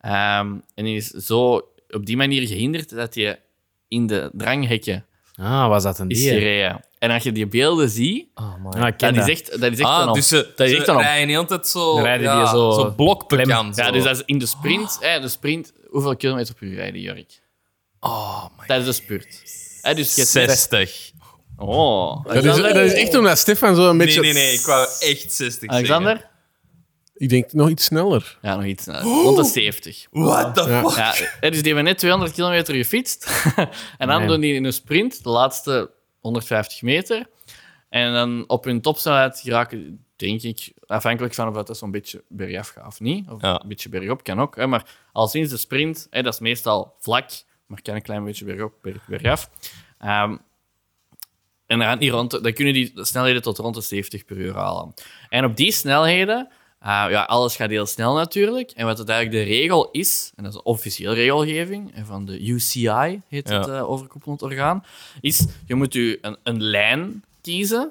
Speaker 2: Ehm, en die is zo op die manier gehinderd dat hij in de dranghekken
Speaker 3: Ah, was dat een
Speaker 2: is
Speaker 3: dier?
Speaker 2: gereden. En als je die beelden ziet,
Speaker 3: Ah, ik
Speaker 2: dat
Speaker 3: ken
Speaker 2: is
Speaker 3: dat.
Speaker 2: echt, dat is echt
Speaker 1: Oh, Ah,
Speaker 2: een
Speaker 1: dus ze,
Speaker 2: Dat is echt
Speaker 1: ze
Speaker 2: een op.
Speaker 1: rijden de hele tijd zo...
Speaker 3: Dan rijden die
Speaker 1: ja,
Speaker 3: zo-
Speaker 1: Zo blokklem.
Speaker 3: klem.
Speaker 2: Ja, dus dat is in de sprint. Hè, de sprint hoeveel kilometer per uur rijden, Jorik?
Speaker 1: Oh my...
Speaker 2: Tijdens de spurt. Hè, dus je hebt-
Speaker 1: 60.
Speaker 2: Oh.
Speaker 4: Dat is, dat is echt omdat Stefan zo een
Speaker 1: Nee,
Speaker 4: beetje...
Speaker 1: nee, nee. Ik wou echt 60
Speaker 2: Alexander?
Speaker 4: Ik denk nog iets sneller.
Speaker 2: Ja, nog iets. eh, Rond de 70.
Speaker 1: zeggen. What the
Speaker 4: Ja.
Speaker 1: fuck?
Speaker 2: Ja, eh, dus die hebben net 200 kilometer gefietst. en dan
Speaker 3: Nee.
Speaker 2: doen die in een sprint de laatste 150 meter. En dan op hun topsnelheid geraken, denk ik, afhankelijk van of dat zo'n beetje bergaf gaat of niet. Of
Speaker 1: Ja.
Speaker 2: een beetje bergop kan ook. Hè, maar al sinds de sprint, hè, dat is meestal vlak, maar kan een klein beetje bergop, berg- bergaf. Ehm, en dan, gaan die rond de- dan kunnen die de snelheden tot rond de 70 per uur halen. En op die snelheden, ah, ja, alles gaat heel snel natuurlijk. En wat het eigenlijk de regel is, en dat is een officieel regelgeving en van de UCI, heet
Speaker 1: Ja.
Speaker 2: het eh, overkoepelend orgaan, is je moet u een, een lijn kiezen,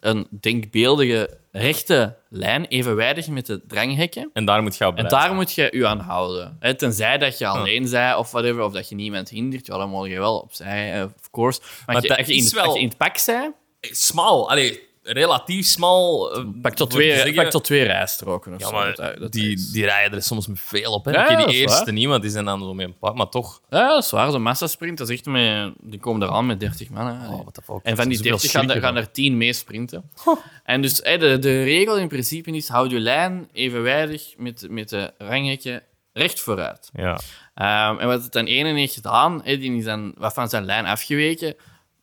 Speaker 2: een denkbeeldige rechte lijn, evenwijdig met de dranghekken.
Speaker 1: En daar moet je op
Speaker 2: En
Speaker 1: blijven.
Speaker 2: daar moet je je aan houden. Hè, Tenzij dat je alleen zij of whatever, of dat je niemand hindert, ja, dan moet je wel opzij, eh, of course. Maar,
Speaker 1: Maar
Speaker 2: als je,
Speaker 1: dat
Speaker 2: als je in,
Speaker 1: is wel-
Speaker 2: als je in het pak zij,
Speaker 1: Smal. Allee, relatief smal. eh,
Speaker 2: pak tot,
Speaker 1: voor te
Speaker 2: twee,
Speaker 1: zeggen.
Speaker 2: pak tot twee rijstroken of
Speaker 1: Ja,
Speaker 2: zo.
Speaker 1: maar
Speaker 2: dat- dat
Speaker 1: die,
Speaker 2: is-
Speaker 1: die rijden er soms met veel op. Hè.
Speaker 2: Ja,
Speaker 1: Dan ken je
Speaker 2: dat
Speaker 1: die
Speaker 2: is
Speaker 1: eerste
Speaker 2: waar.
Speaker 1: niemand, die zijn dan zo met een paar. Maar toch...
Speaker 2: Ja, dat is waar. Zo'n massasprint, dat is echt met... Die komen er aan met 30 man. hè.
Speaker 1: Oh, what the fuck.
Speaker 2: en van die
Speaker 1: Dat is wel
Speaker 2: 30 gaan, er-
Speaker 1: schrikken,
Speaker 2: gaan er 10 mee sprinten. En dus hè, de, de regel in principe is, houd je lijn evenwijdig met, met de ranghekje recht vooruit.
Speaker 1: Ja.
Speaker 2: Ehm, en wat het dan ene heeft gedaan, hè, die is dan wat van zijn lijn afgeweken.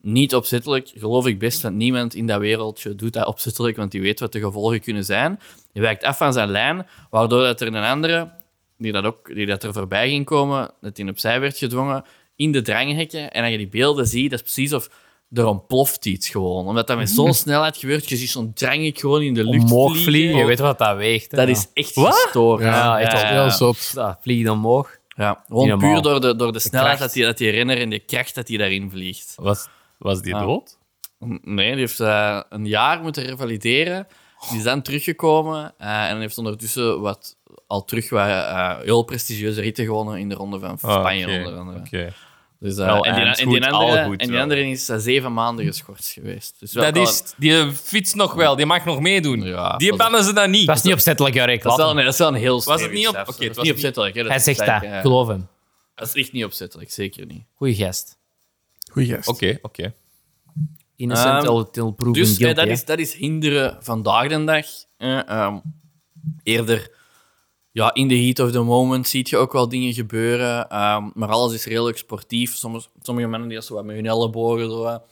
Speaker 2: Niet opzettelijk, geloof ik best, want niemand in dat wereldje doet dat opzettelijk, want die weet wat de gevolgen kunnen zijn. Die wijkt af van zijn lijn, waardoor dat er een andere, die dat, ook, die dat er voorbij ging komen, dat die opzij werd gedwongen, in de dranghekken. En als je die beelden ziet, dat is precies of er ontploft iets gewoon. Omdat dat met zo'n snelheid gebeurt, je ziet zo'n dranghek gewoon in de lucht
Speaker 3: Mhm. Omhoog
Speaker 2: vliegen.
Speaker 3: vliegen. Je weet wat dat weegt. hè?
Speaker 2: Dat
Speaker 3: Ja.
Speaker 2: is echt gestoord.
Speaker 3: Ja, echt wel.
Speaker 2: Ja,
Speaker 4: Heel zot.
Speaker 3: Dat vliegt omhoog.
Speaker 2: ja, gewoon
Speaker 3: Niet normaal.
Speaker 2: puur door de, door de snelheid
Speaker 3: kracht.
Speaker 2: dat die, dat die renner en de kracht dat die daarin vliegt.
Speaker 1: Was, was die
Speaker 3: Ja.
Speaker 1: dood?
Speaker 2: N- Nee, die heeft eh, een jaar moeten revalideren. Die is dan teruggekomen eh, en heeft ondertussen wat al terug wat, eh, heel prestigieuze ritten gewonnen in de ronde van
Speaker 1: Ah,
Speaker 2: Spanje,
Speaker 1: oké,
Speaker 2: onder andere.
Speaker 1: oké.
Speaker 2: Dus, eh,
Speaker 1: Wel,
Speaker 2: en die,
Speaker 1: en
Speaker 2: en die
Speaker 1: goed,
Speaker 2: andere,
Speaker 1: al goed
Speaker 2: en die
Speaker 1: wel.
Speaker 2: andere is eh, zeven maanden geschorst geweest. Dus wel
Speaker 1: Dat
Speaker 2: al-
Speaker 1: is... Die fietst nog wel. Die mag nog meedoen.
Speaker 2: Ja,
Speaker 1: die
Speaker 2: dat is-
Speaker 1: bannen ze dan niet.
Speaker 3: Dat is niet opzettelijk, Jarek.
Speaker 2: Dat is,
Speaker 3: Laat
Speaker 2: wel
Speaker 3: hem.
Speaker 2: een, dat is wel een heel
Speaker 1: het
Speaker 2: stevig
Speaker 1: niet op-
Speaker 2: cijfer.
Speaker 1: oké, het
Speaker 2: Dat is
Speaker 1: was
Speaker 2: niet
Speaker 1: niet-
Speaker 2: opzettelijk. hè, dat
Speaker 3: Hij
Speaker 2: is
Speaker 3: zegt dat.
Speaker 2: eigenlijk,
Speaker 3: Ik
Speaker 2: eh,
Speaker 3: geloof hem.
Speaker 2: Dat is echt niet opzettelijk, zeker niet.
Speaker 3: Goeie gast.
Speaker 4: Goeie gast.
Speaker 1: Oké, oké.
Speaker 3: Innocent
Speaker 2: Ehm,
Speaker 3: till- till proven
Speaker 2: Dus eh,
Speaker 3: guilty.
Speaker 2: dat,
Speaker 3: hè.
Speaker 2: is, dat is hinderen vandaag de dag. Eh, ehm, eerder ja, in the heat of the moment zie je ook wel dingen gebeuren. ehm, maar alles is redelijk sportief. Sommige, sommige mannen die dat zo wat met hun ellebogen. Zo, wat-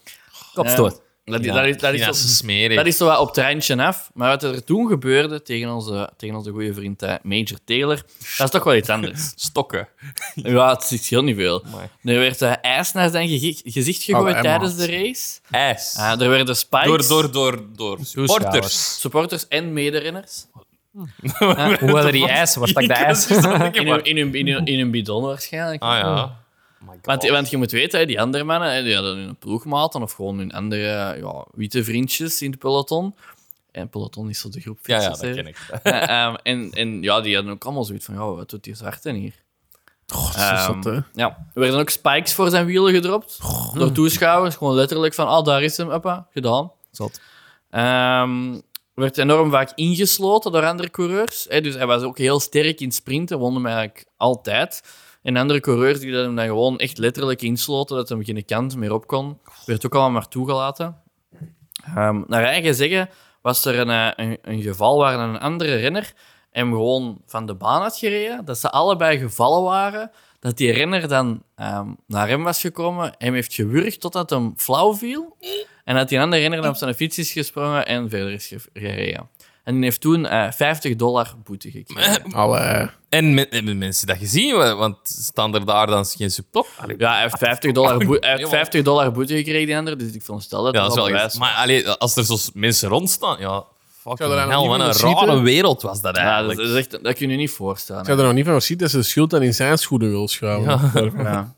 Speaker 3: Kopstoot.
Speaker 2: Ja, dat, is- dat is, dat, is,
Speaker 1: Ja,
Speaker 2: zo-
Speaker 1: ze smeren.
Speaker 2: dat is zo wat op het randje af. Maar wat er toen gebeurde tegen onze, tegen onze goede vriend eh, Major Taylor, dat is toch wel iets anders.
Speaker 1: Stokken.
Speaker 2: ja, het is heel niet veel.
Speaker 1: Amai.
Speaker 2: Er werd eh, ijs naar zijn gege- gezicht gegooid
Speaker 4: Emma.
Speaker 2: tijdens de race.
Speaker 1: IJs.
Speaker 2: Ah, er werden spikes.
Speaker 1: door, door, door, door supporters.
Speaker 2: Supporters en mederenners.
Speaker 3: Hoewel er die ijs, waar stak de ijs?
Speaker 2: In hun, in, hun, in, hun, in hun bidon waarschijnlijk.
Speaker 1: Ah ja. Oh my God.
Speaker 2: Want, want je moet weten, hè, die andere mannen hè, die hadden hun ploegmaten of gewoon hun andere ja, witte vriendjes in het peloton. En peloton is zo de groep.
Speaker 1: ja, ja, dat
Speaker 2: fietsers, hè.
Speaker 1: ken ik.
Speaker 2: Eh, ehm, en, en ja, die hadden ook allemaal zoiets van, ja, wat doet die zwarte hier?
Speaker 4: God, zo is dat,
Speaker 2: Ehm,
Speaker 4: hè.
Speaker 2: ja. Er werden ook spikes voor zijn wielen gedropt. Door toeschouwers. Gewoon letterlijk van, ah, daar is hem, uppa, gedaan.
Speaker 3: Zot.
Speaker 2: Ehm, werd enorm vaak ingesloten door andere coureurs. hè. dus hij was ook heel sterk in sprinten, won hem eigenlijk altijd. En andere coureurs die dat hem dan gewoon echt letterlijk insloten, dat hem geen kant meer op kon, werd ook allemaal maar toegelaten. Ehm, naar eigen zeggen was er een, eh, een, een geval waar een andere renner hem gewoon van de baan had gereden, dat ze allebei gevallen waren, dat die renner dan ehm, naar hem was gekomen, hem heeft gewurgd totdat hem flauw viel, en dat die andere renner dan op zijn fiets is gesprongen en verder is ge- gereden. En die heeft toen eh, 50 dollar boete gekregen.
Speaker 4: Allee.
Speaker 1: En men- hebben mensen dat gezien? Wa- Want staan er daar dan geen support? Allee,
Speaker 2: Ja, hij heeft 50 dollar, boe- hij heeft
Speaker 1: Jongen.
Speaker 2: 50 dollar boete gekregen, die andere, dus ik veronderstel dat
Speaker 1: Ja,
Speaker 2: het
Speaker 1: dat is wel
Speaker 2: bewijs
Speaker 1: eens. Maar allee, als er zo mensen rondstaan, ja, fucking
Speaker 4: er
Speaker 1: hell,
Speaker 4: dan nog
Speaker 1: wat een
Speaker 4: niet
Speaker 1: rare
Speaker 4: van schieten?
Speaker 1: wereld was dat
Speaker 2: Ja, dat,
Speaker 1: eigenlijk.
Speaker 2: is echt, dat kun je niet voorstellen.
Speaker 4: Ik had er nog niet van gezien dat ze de schuld dan in zijn schoenen wil schuiven.
Speaker 2: Ja.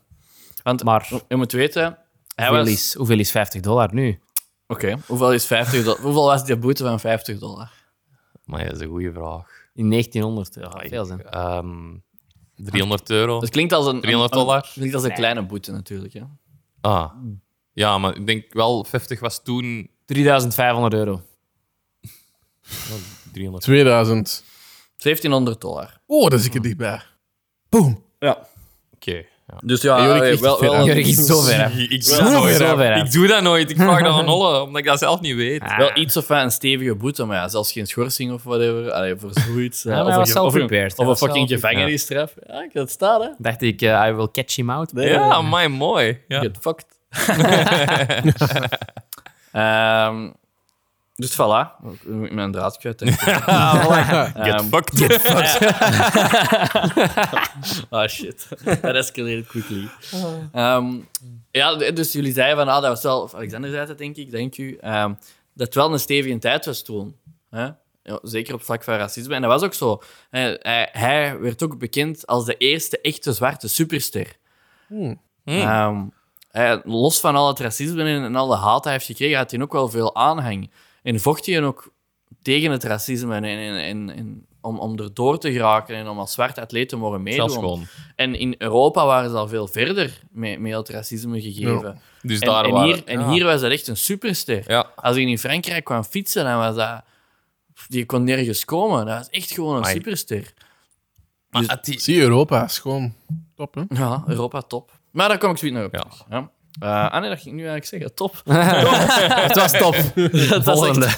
Speaker 2: Want
Speaker 3: Maar
Speaker 2: je moet weten, hij
Speaker 3: hoeveel
Speaker 2: was...
Speaker 3: is, hoeveel is 50 dollar nu?
Speaker 2: Oké, hoeveel is 50 dollar? hoeveel was die boete van 50 dollar?
Speaker 1: Maar ja, dat is een goede vraag.
Speaker 3: In 1900. Ja, veel zijn.
Speaker 1: Ehm 300 euro.
Speaker 2: Dat klinkt als een...
Speaker 1: 300
Speaker 2: een- een-
Speaker 1: dollar?
Speaker 2: klinkt als een kleine boete natuurlijk, hè.
Speaker 1: Ah. Ja, maar ik denk wel, 50 was toen
Speaker 3: 3500 euro.
Speaker 1: 300.
Speaker 4: 2000.
Speaker 2: 1700 dollar.
Speaker 4: Oh, daar zit ik er dichtbij.
Speaker 2: Ja.
Speaker 1: Oké. ja.
Speaker 2: Dus ja,
Speaker 4: Jorik
Speaker 2: eh,
Speaker 4: is
Speaker 2: wel,
Speaker 4: te ver
Speaker 2: wel,
Speaker 3: Jurk
Speaker 2: een-
Speaker 3: is zo ver. hè.
Speaker 1: Ik, ik,
Speaker 3: Zo
Speaker 1: doe dat nooit,
Speaker 3: ver
Speaker 1: hè.
Speaker 3: af.
Speaker 1: ik doe dat nooit. Ik vraag dat aan Holle, omdat ik dat zelf niet weet.
Speaker 3: Ah.
Speaker 2: wel iets of wat een stevige boete, maar ja, zelfs geen schorsing of whatever. Allee, voor zoiets. eh,
Speaker 3: Ja, maar
Speaker 2: of
Speaker 3: hij
Speaker 2: een,
Speaker 3: was
Speaker 2: ge-
Speaker 3: zelf
Speaker 2: of, een,
Speaker 3: prepared.
Speaker 2: of
Speaker 3: Hij
Speaker 2: een
Speaker 3: was
Speaker 2: fucking
Speaker 3: zelf-
Speaker 2: gevangenisstraf. Ja, ik had het staan, hè.
Speaker 3: Dacht ik, eh, I will catch him out.
Speaker 2: Nee.
Speaker 1: Ja, my mooi. Ja.
Speaker 2: Get fucked. Ehm, dus voilà. Ik moet mijn draad kwijt. denk ik.
Speaker 1: Get
Speaker 2: Ehm,
Speaker 1: fucked.
Speaker 2: Ah, shit. Dat escalated quickly. Ehm, ja, dus jullie zeiden van, ah, dat was wel... Of Alexander zei dat, denk ik, denk u. ehm, dat het wel een stevige tijd was toen. Hè? Ja, zeker op vlak van racisme. En dat was ook zo. Hè, Hij, hij werd ook bekend als de eerste echte zwarte superster.
Speaker 1: Hmm.
Speaker 2: Ehm, hij- los van al het racisme en, en al de haat die hij heeft gekregen, had hij ook wel veel aanhang. En vocht hij ook tegen het racisme en, en, en, en om, om erdoor te geraken en om als zwart atleet te mogen meedoen.
Speaker 1: Zelfs gewoon.
Speaker 2: En in heel Europa waren ze al veel verder mee, met het racisme gegeven.
Speaker 1: Dus
Speaker 2: En,
Speaker 1: daar
Speaker 2: en,
Speaker 1: waren-
Speaker 2: hier, en
Speaker 1: ja.
Speaker 2: hier was dat echt een superster.
Speaker 1: Ja.
Speaker 2: Als ik in Frankrijk kwam fietsen, dan was dat... Die kon nergens komen. Dat was echt gewoon een
Speaker 1: Amai.
Speaker 2: superster.
Speaker 3: Dus
Speaker 1: Maar had die-
Speaker 4: Zie, Europa is gewoon top, hè?
Speaker 2: Ja, Europa top. Maar daar kom ik zoiets naar op.
Speaker 1: Ja.
Speaker 2: terug, Ja. Eh, ah nee, dat ging ik nu eigenlijk zeggen. Top.
Speaker 3: Het was top.
Speaker 2: dat was echt
Speaker 3: Volgende.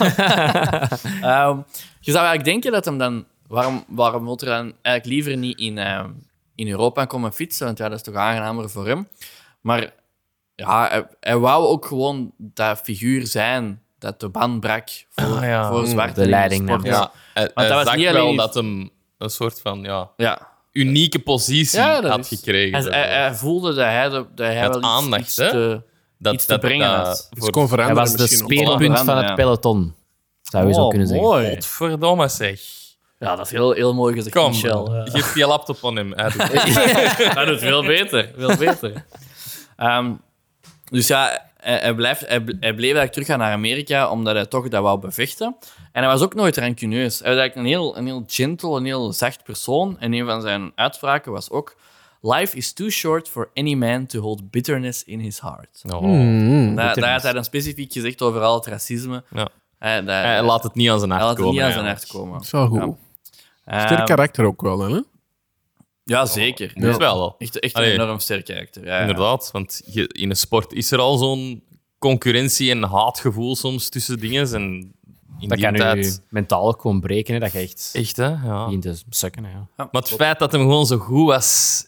Speaker 2: Ehm, je zou eigenlijk denken dat hem dan... Waarom, waarom wil hij dan eigenlijk liever niet in, ehm, in Europa komen fietsen? Want ja, dat is toch aangenamer voor hem. Maar ja, hij, hij wou ook gewoon dat figuur zijn dat de band brak voor,
Speaker 1: Ah, ja.
Speaker 2: voor
Speaker 1: Mm,
Speaker 2: zwarte
Speaker 3: de leiding
Speaker 2: sport.
Speaker 3: nam.
Speaker 2: Ja.
Speaker 1: Ja, hij, hij
Speaker 2: dat was
Speaker 1: zag
Speaker 2: niet
Speaker 1: wel
Speaker 2: alleen-
Speaker 1: dat hem een soort van ja,
Speaker 2: ja.
Speaker 1: unieke positie
Speaker 2: Ja, dat
Speaker 1: had
Speaker 2: is- eh,
Speaker 1: gekregen.
Speaker 2: Hij, hij- hij voelde dat hij, de- dat hij
Speaker 1: Met
Speaker 2: wel iets,
Speaker 1: aandacht,
Speaker 2: iets
Speaker 1: hè?
Speaker 2: te...
Speaker 1: dat,
Speaker 2: iets te brengen had.
Speaker 4: Het is gewoon
Speaker 3: Hij
Speaker 4: veranderen
Speaker 3: was de
Speaker 4: misschien ook.
Speaker 3: speerpunt van het
Speaker 2: Ja.
Speaker 3: peloton. Zou je zo
Speaker 2: Oh,
Speaker 3: kunnen zeggen.
Speaker 2: mooi.
Speaker 1: Godverdomme zeg.
Speaker 2: Ja, dat is heel, heel mooi gezegd,
Speaker 1: Kom,
Speaker 2: Michel. Ja.
Speaker 1: geef je laptop aan hem. Hij doet het.
Speaker 2: Hij doet veel beter. Veel beter. Ehm, dus ja, hij, hij blijft, hij, bl- hij bleef eigenlijk teruggaan naar Amerika, omdat hij toch dat wou bevechten. En hij was ook nooit rancuneus. Hij was eigenlijk een heel, een heel gentle, een heel zacht persoon. En een van zijn uitspraken was ook... Life is too short for any man to hold bitterness in his heart.
Speaker 1: Oh.
Speaker 4: Mm.
Speaker 2: Daar, daar had hij dan specifiek gezegd over al het racisme.
Speaker 1: Ja.
Speaker 2: Hij, dat-
Speaker 1: Hij laat het niet aan zijn
Speaker 2: hij
Speaker 1: hart
Speaker 2: laat het
Speaker 1: komen.
Speaker 2: niet aan zijn
Speaker 1: eigenlijk.
Speaker 2: hart komen.
Speaker 4: Dat is wel goed. Sterk
Speaker 2: Ehm,
Speaker 4: karakter ook wel, hè?
Speaker 2: ja, zeker.
Speaker 1: Dat is wel.
Speaker 2: Echt, echt een
Speaker 1: Allee.
Speaker 2: enorm sterk karakter. Ja, ja.
Speaker 1: Inderdaad, want je- in een sport is er al zo'n concurrentie en haatgevoel soms tussen dingen. En in
Speaker 3: Dat
Speaker 1: die
Speaker 3: kan
Speaker 1: tijd
Speaker 3: je mentaal ook gewoon breken, hè, dat je echt
Speaker 1: echt, hè? Ja.
Speaker 3: begint te sukken. hè, Ja.
Speaker 1: Maar het feit dat hem gewoon zo goed was,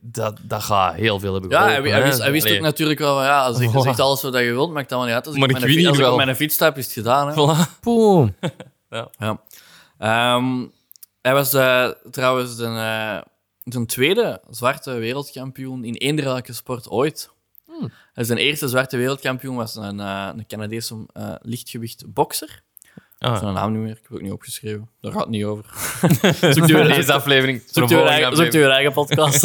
Speaker 1: dat, dat gaat heel veel hebben
Speaker 2: Ja,
Speaker 1: geholpen.
Speaker 2: hij, wi- hij
Speaker 1: hè.
Speaker 2: wist, hij wist ook
Speaker 1: Allee,
Speaker 2: natuurlijk wel van ja, als ik je zegt alles wat je wilt, maakt dat wel niet uit. Als ik,
Speaker 1: Maar
Speaker 2: op
Speaker 1: ik
Speaker 2: mijn
Speaker 1: win
Speaker 2: fi- als
Speaker 1: hier
Speaker 2: ik
Speaker 1: wel.
Speaker 2: op mijn fiets stap, is het gedaan. Hè.
Speaker 1: voilà.
Speaker 3: Boom.
Speaker 2: Ja. Ehm, hij was eh, trouwens de, eh, de tweede zwarte wereldkampioen in eender welke sport ooit. En Zijn eerste zwarte wereldkampioen was een, eh, een Canadese eh, lichtgewicht bokser.
Speaker 1: Ah.
Speaker 2: Ik heb zijn naam niet meer, ik heb het ook niet opgeschreven. Daar gaat het niet over.
Speaker 1: Zoek je deze aflevering.
Speaker 2: Zoekt u uw eigen, zoekt u uw eigen podcast.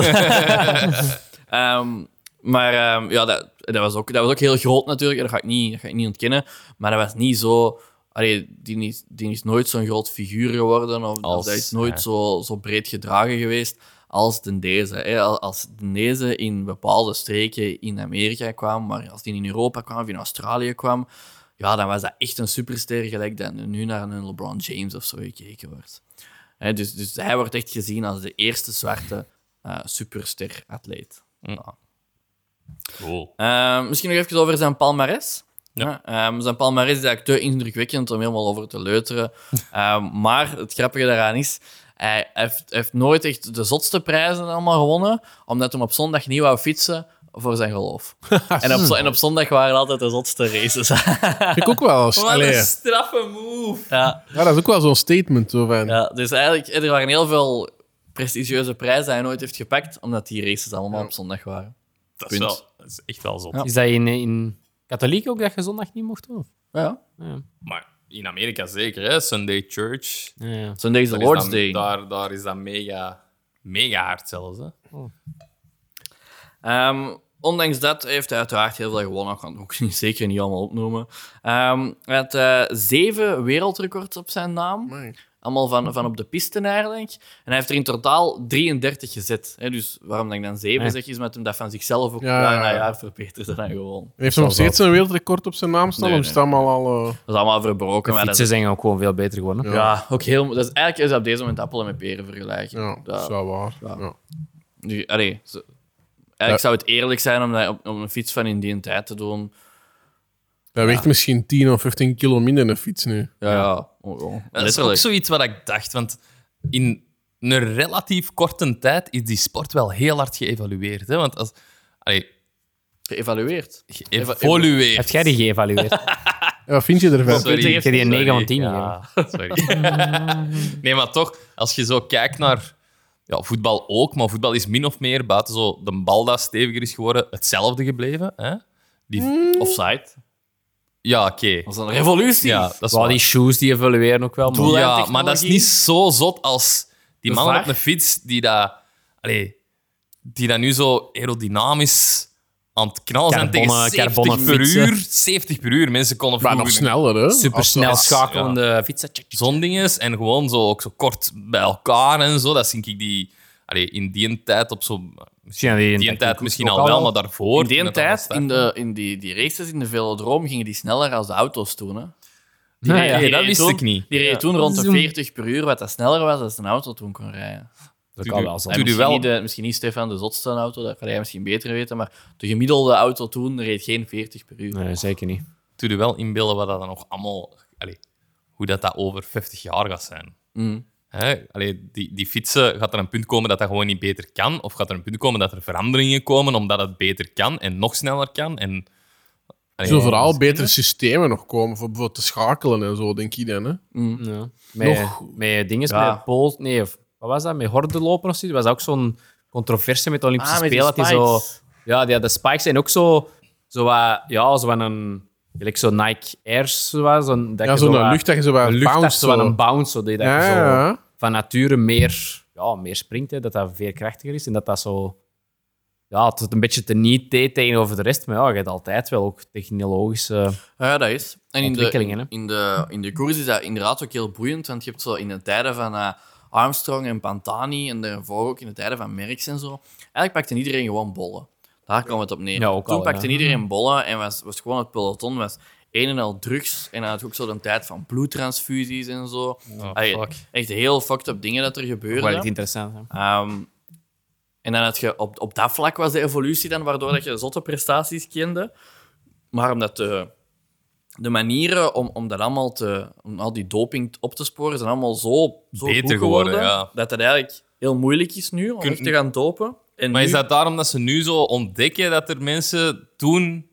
Speaker 2: Ehm, maar ehm, ja, dat, dat, was ook, dat was ook heel groot natuurlijk. Dat ga ik niet, dat ga ik niet ontkennen. Maar dat was niet zo... Allee, die, is, die is nooit zo'n groot figuur geworden. Of,
Speaker 1: Als,
Speaker 2: of dat is nooit
Speaker 1: ja.
Speaker 2: zo, zo breed gedragen geweest als de deze. Hè. Al- Als de deze in bepaalde streken in Amerika kwam, maar als die in Europa kwam of in Australië kwam, ja, dan was dat echt een superster gelijk dat nu naar een LeBron James of zo gekeken wordt. Hè, dus, dus hij wordt echt gezien als de eerste zwarte eh, superster-atleet.
Speaker 1: Mm.
Speaker 2: Nou.
Speaker 1: Cool.
Speaker 2: Ehm, misschien nog even over zijn palmares.
Speaker 1: Ja.
Speaker 2: Ja. ehm, zijn palmares is eigenlijk te indrukwekkend om helemaal over te leuteren. Ehm, maar het grappige daaraan is, hij heeft, heeft nooit echt de zotste prijzen allemaal gewonnen, omdat hij op zondag niet wou fietsen voor zijn geloof. en, op, zo- en op zondag waren altijd de zotste races.
Speaker 4: Ik ook wel eens.
Speaker 1: Wat
Speaker 4: Allee,
Speaker 1: een straffe move.
Speaker 2: ja,
Speaker 4: ja, dat is ook wel zo'n statement. Zo van,
Speaker 2: ja, dus eigenlijk, er waren heel veel prestigieuze prijzen die hij nooit heeft gepakt, omdat die races allemaal op zondag waren.
Speaker 1: Dat
Speaker 2: is
Speaker 1: is,
Speaker 2: wel-
Speaker 1: echt wel zot.
Speaker 3: Is dat in, in katholiek ook dat je zondag niet mocht doen?
Speaker 2: Ja,
Speaker 3: Ja.
Speaker 1: Maar in Amerika zeker, hè? Sunday Church.
Speaker 3: Ja, ja.
Speaker 2: Sunday is de
Speaker 1: Daar
Speaker 2: Lord's
Speaker 1: is dat-
Speaker 2: Day.
Speaker 1: Daar, daar is dat mega, mega hard zelfs. Hè?
Speaker 2: Ehm, ondanks dat heeft hij uiteraard heel veel gewonnen. Ik kan het ook niet, zeker niet allemaal opnoemen. Ehm, hij had eh, zeven wereldrecords op zijn naam.
Speaker 4: Amai.
Speaker 2: Allemaal van, van op de piste eigenlijk. En hij heeft er in totaal 33 gezet. Hè? Dus waarom dat ik dan zeven
Speaker 3: Nee.
Speaker 2: zeg, is met hem dat van zichzelf ook
Speaker 4: Ja,
Speaker 2: jaar
Speaker 4: ja,
Speaker 2: na
Speaker 4: ja.
Speaker 2: jaar verbeterde dan gewoon.
Speaker 4: Heeft ze nog steeds een wereldrecord op zijn naam staan?
Speaker 2: Nee,
Speaker 4: of is het allemaal al... eh,
Speaker 2: Dat is allemaal verbroken.
Speaker 3: De
Speaker 2: Maar dat
Speaker 3: fietsen
Speaker 2: is,
Speaker 3: zijn ook gewoon veel beter geworden.
Speaker 4: Ja.
Speaker 2: ja, ook heel, dat is eigenlijk is dat op deze moment appelen met peren vergelijken.
Speaker 4: ja, dat is wel waar.
Speaker 2: Ja.
Speaker 4: Ja.
Speaker 2: Nu, allee, zo- eigenlijk
Speaker 4: Ja.
Speaker 2: zou het eerlijk zijn om, dat op, om een fiets van in die tijd te doen.
Speaker 4: Dat weegt misschien 10 of 15 kilo minder in een fiets nu.
Speaker 2: Ja, ja. Oh, oh.
Speaker 1: Dat is ook zoiets wat ik dacht. Want in een relatief korte tijd is die sport wel heel hard geëvalueerd. Hè? Want als. Allee,
Speaker 2: geëvalueerd.
Speaker 1: geëvolueerd.
Speaker 3: Heb jij die geëvalueerd?
Speaker 4: En wat vind je ervan?
Speaker 1: Sorry.
Speaker 3: Ik heb die een 9 van 10 gegeven.
Speaker 1: Ja, sorry. nee, maar toch, als je zo kijkt naar ja, voetbal ook, maar voetbal is min of meer buiten zo de bal dat steviger is geworden, hetzelfde gebleven. Hè? Die,
Speaker 2: Offside.
Speaker 1: Ja, oké.
Speaker 2: Dat is een revolutie.
Speaker 1: Ja, dat is
Speaker 3: Wel,
Speaker 1: waar.
Speaker 3: die shoes die evolueren ook wel. man.
Speaker 2: Doel-
Speaker 1: Ja, maar dat is
Speaker 2: technologie.
Speaker 1: niet zo zot als die
Speaker 2: De
Speaker 1: mannen op
Speaker 2: VAR.
Speaker 1: een fiets die dat, allee, die dat nu zo aerodynamisch aan het knallen zijn
Speaker 3: Carbonnen-
Speaker 1: tegen 70
Speaker 3: carbonnen
Speaker 1: per
Speaker 3: fietsen.
Speaker 1: uur. 70 per uur. Mensen konden
Speaker 4: Maar nog
Speaker 1: vroeger-
Speaker 4: sneller, hè?
Speaker 3: Supersnel
Speaker 1: Als-
Speaker 3: schakelende fietsen. Tjik, tjik.
Speaker 1: zondinges en gewoon zo, ook zo kort bij elkaar en zo. Dat zie ik die allee, in die tijd op zo.
Speaker 3: Misschien had die
Speaker 1: In
Speaker 3: een
Speaker 1: die tijd
Speaker 3: tactiek
Speaker 1: misschien
Speaker 3: ook
Speaker 1: al wel, maar daarvoor.
Speaker 2: In die
Speaker 1: toen dat al
Speaker 2: tijd,
Speaker 1: startte.
Speaker 2: in, de, in die, die races in de velodroom, gingen die sneller als de auto's toen. Hè. Die
Speaker 3: Ja,
Speaker 2: reden-
Speaker 3: ja.
Speaker 2: die
Speaker 1: Nee, dat
Speaker 2: reden
Speaker 1: wist
Speaker 2: toen-
Speaker 1: ik niet.
Speaker 2: Die reden toen rond de
Speaker 3: Zoem.
Speaker 2: 40 per uur, wat dat sneller was dan een auto toen kon rijden.
Speaker 3: Dat
Speaker 1: Doe-
Speaker 3: kan wel zo.
Speaker 1: doe-
Speaker 2: misschien,
Speaker 1: wel-
Speaker 2: niet de, misschien niet Stefan de zotste auto, dat kan jij misschien beter weten, maar de gemiddelde auto toen reed geen 40 per uur. Ah,
Speaker 3: Nee, zeker niet.
Speaker 1: Toen je wel inbeelden wat dat dan nog allemaal. Allee, hoe dat, dat over 50 jaar gaat zijn.
Speaker 2: Mm.
Speaker 1: Hè? Allee, die, die fietsen, gaat er een punt komen dat dat gewoon niet beter kan? Of gaat er een punt komen dat er veranderingen komen omdat het beter kan en nog sneller kan? En,
Speaker 4: Er
Speaker 1: allee,
Speaker 4: zullen vooral betere systemen nog komen, voor bijvoorbeeld te schakelen en zo, denk ik dan. Hè?
Speaker 3: Ja. Met, met dingen,
Speaker 2: Ja.
Speaker 3: met pols... Nee, of- wat was dat? Met hordenlopen of zoiets? Dat was ook zo'n controverse met de Olympische
Speaker 2: Ah, met die
Speaker 3: Spelen. dat die
Speaker 2: spikes.
Speaker 3: zo... Ja, die, de spikes en ook zo... Zo wat... Ja, zo van een... Gelijk zo Nike Airs. Zo, wat, zo'n- dat
Speaker 4: Ja,
Speaker 3: je
Speaker 4: zo'n
Speaker 3: zo wat-
Speaker 4: lucht dat je zo bij
Speaker 3: een lucht, dat
Speaker 4: bounce.
Speaker 3: is zo wat
Speaker 4: zo.
Speaker 3: een bounce. Zo, dat je
Speaker 4: Ja,
Speaker 3: zo
Speaker 4: ja, ja.
Speaker 3: van nature meer, ja, meer springt. Hè, dat dat veerkrachtiger is. En dat dat zo... Ja, het een beetje te niet deed tegenover de rest. Maar ja, je hebt altijd wel ook technologische...
Speaker 2: Ja, dat is. En in de,
Speaker 3: Ontwikkelingen,
Speaker 2: in,
Speaker 3: hè?
Speaker 2: de, in de koers is dat inderdaad ook heel boeiend, want je hebt zo in de tijden van eh, Armstrong en Pantani en daarvoor ook in de tijden van Merckx en zo, eigenlijk pakte iedereen gewoon bollen. Daar kwam het op neer.
Speaker 3: Ja, ook
Speaker 2: Toen
Speaker 3: al,
Speaker 2: pakte
Speaker 3: ja.
Speaker 2: iedereen bollen en was, was gewoon het peloton was een en al drugs en dan had je ook zo de tijd van bloedtransfusies en zo.
Speaker 1: Oh,
Speaker 2: Allee,
Speaker 1: fuck.
Speaker 2: echt heel fucked up dingen dat er
Speaker 3: Wel
Speaker 2: gebeurde.
Speaker 3: echt interessant. Hè.
Speaker 2: Ehm, en dan had je op, op dat vlak was de evolutie dan, waardoor dat je zotte prestaties kende. Maar omdat de, de manieren om, om dat allemaal te, om al die doping op te sporen zijn allemaal zo, zo
Speaker 1: Beter
Speaker 2: goed
Speaker 1: geworden, ja.
Speaker 2: dat het eigenlijk heel moeilijk is nu om
Speaker 1: Kun-
Speaker 2: echt te gaan dopen. En
Speaker 1: Maar is
Speaker 2: nu-
Speaker 1: dat daarom dat ze nu zo ontdekken dat er mensen toen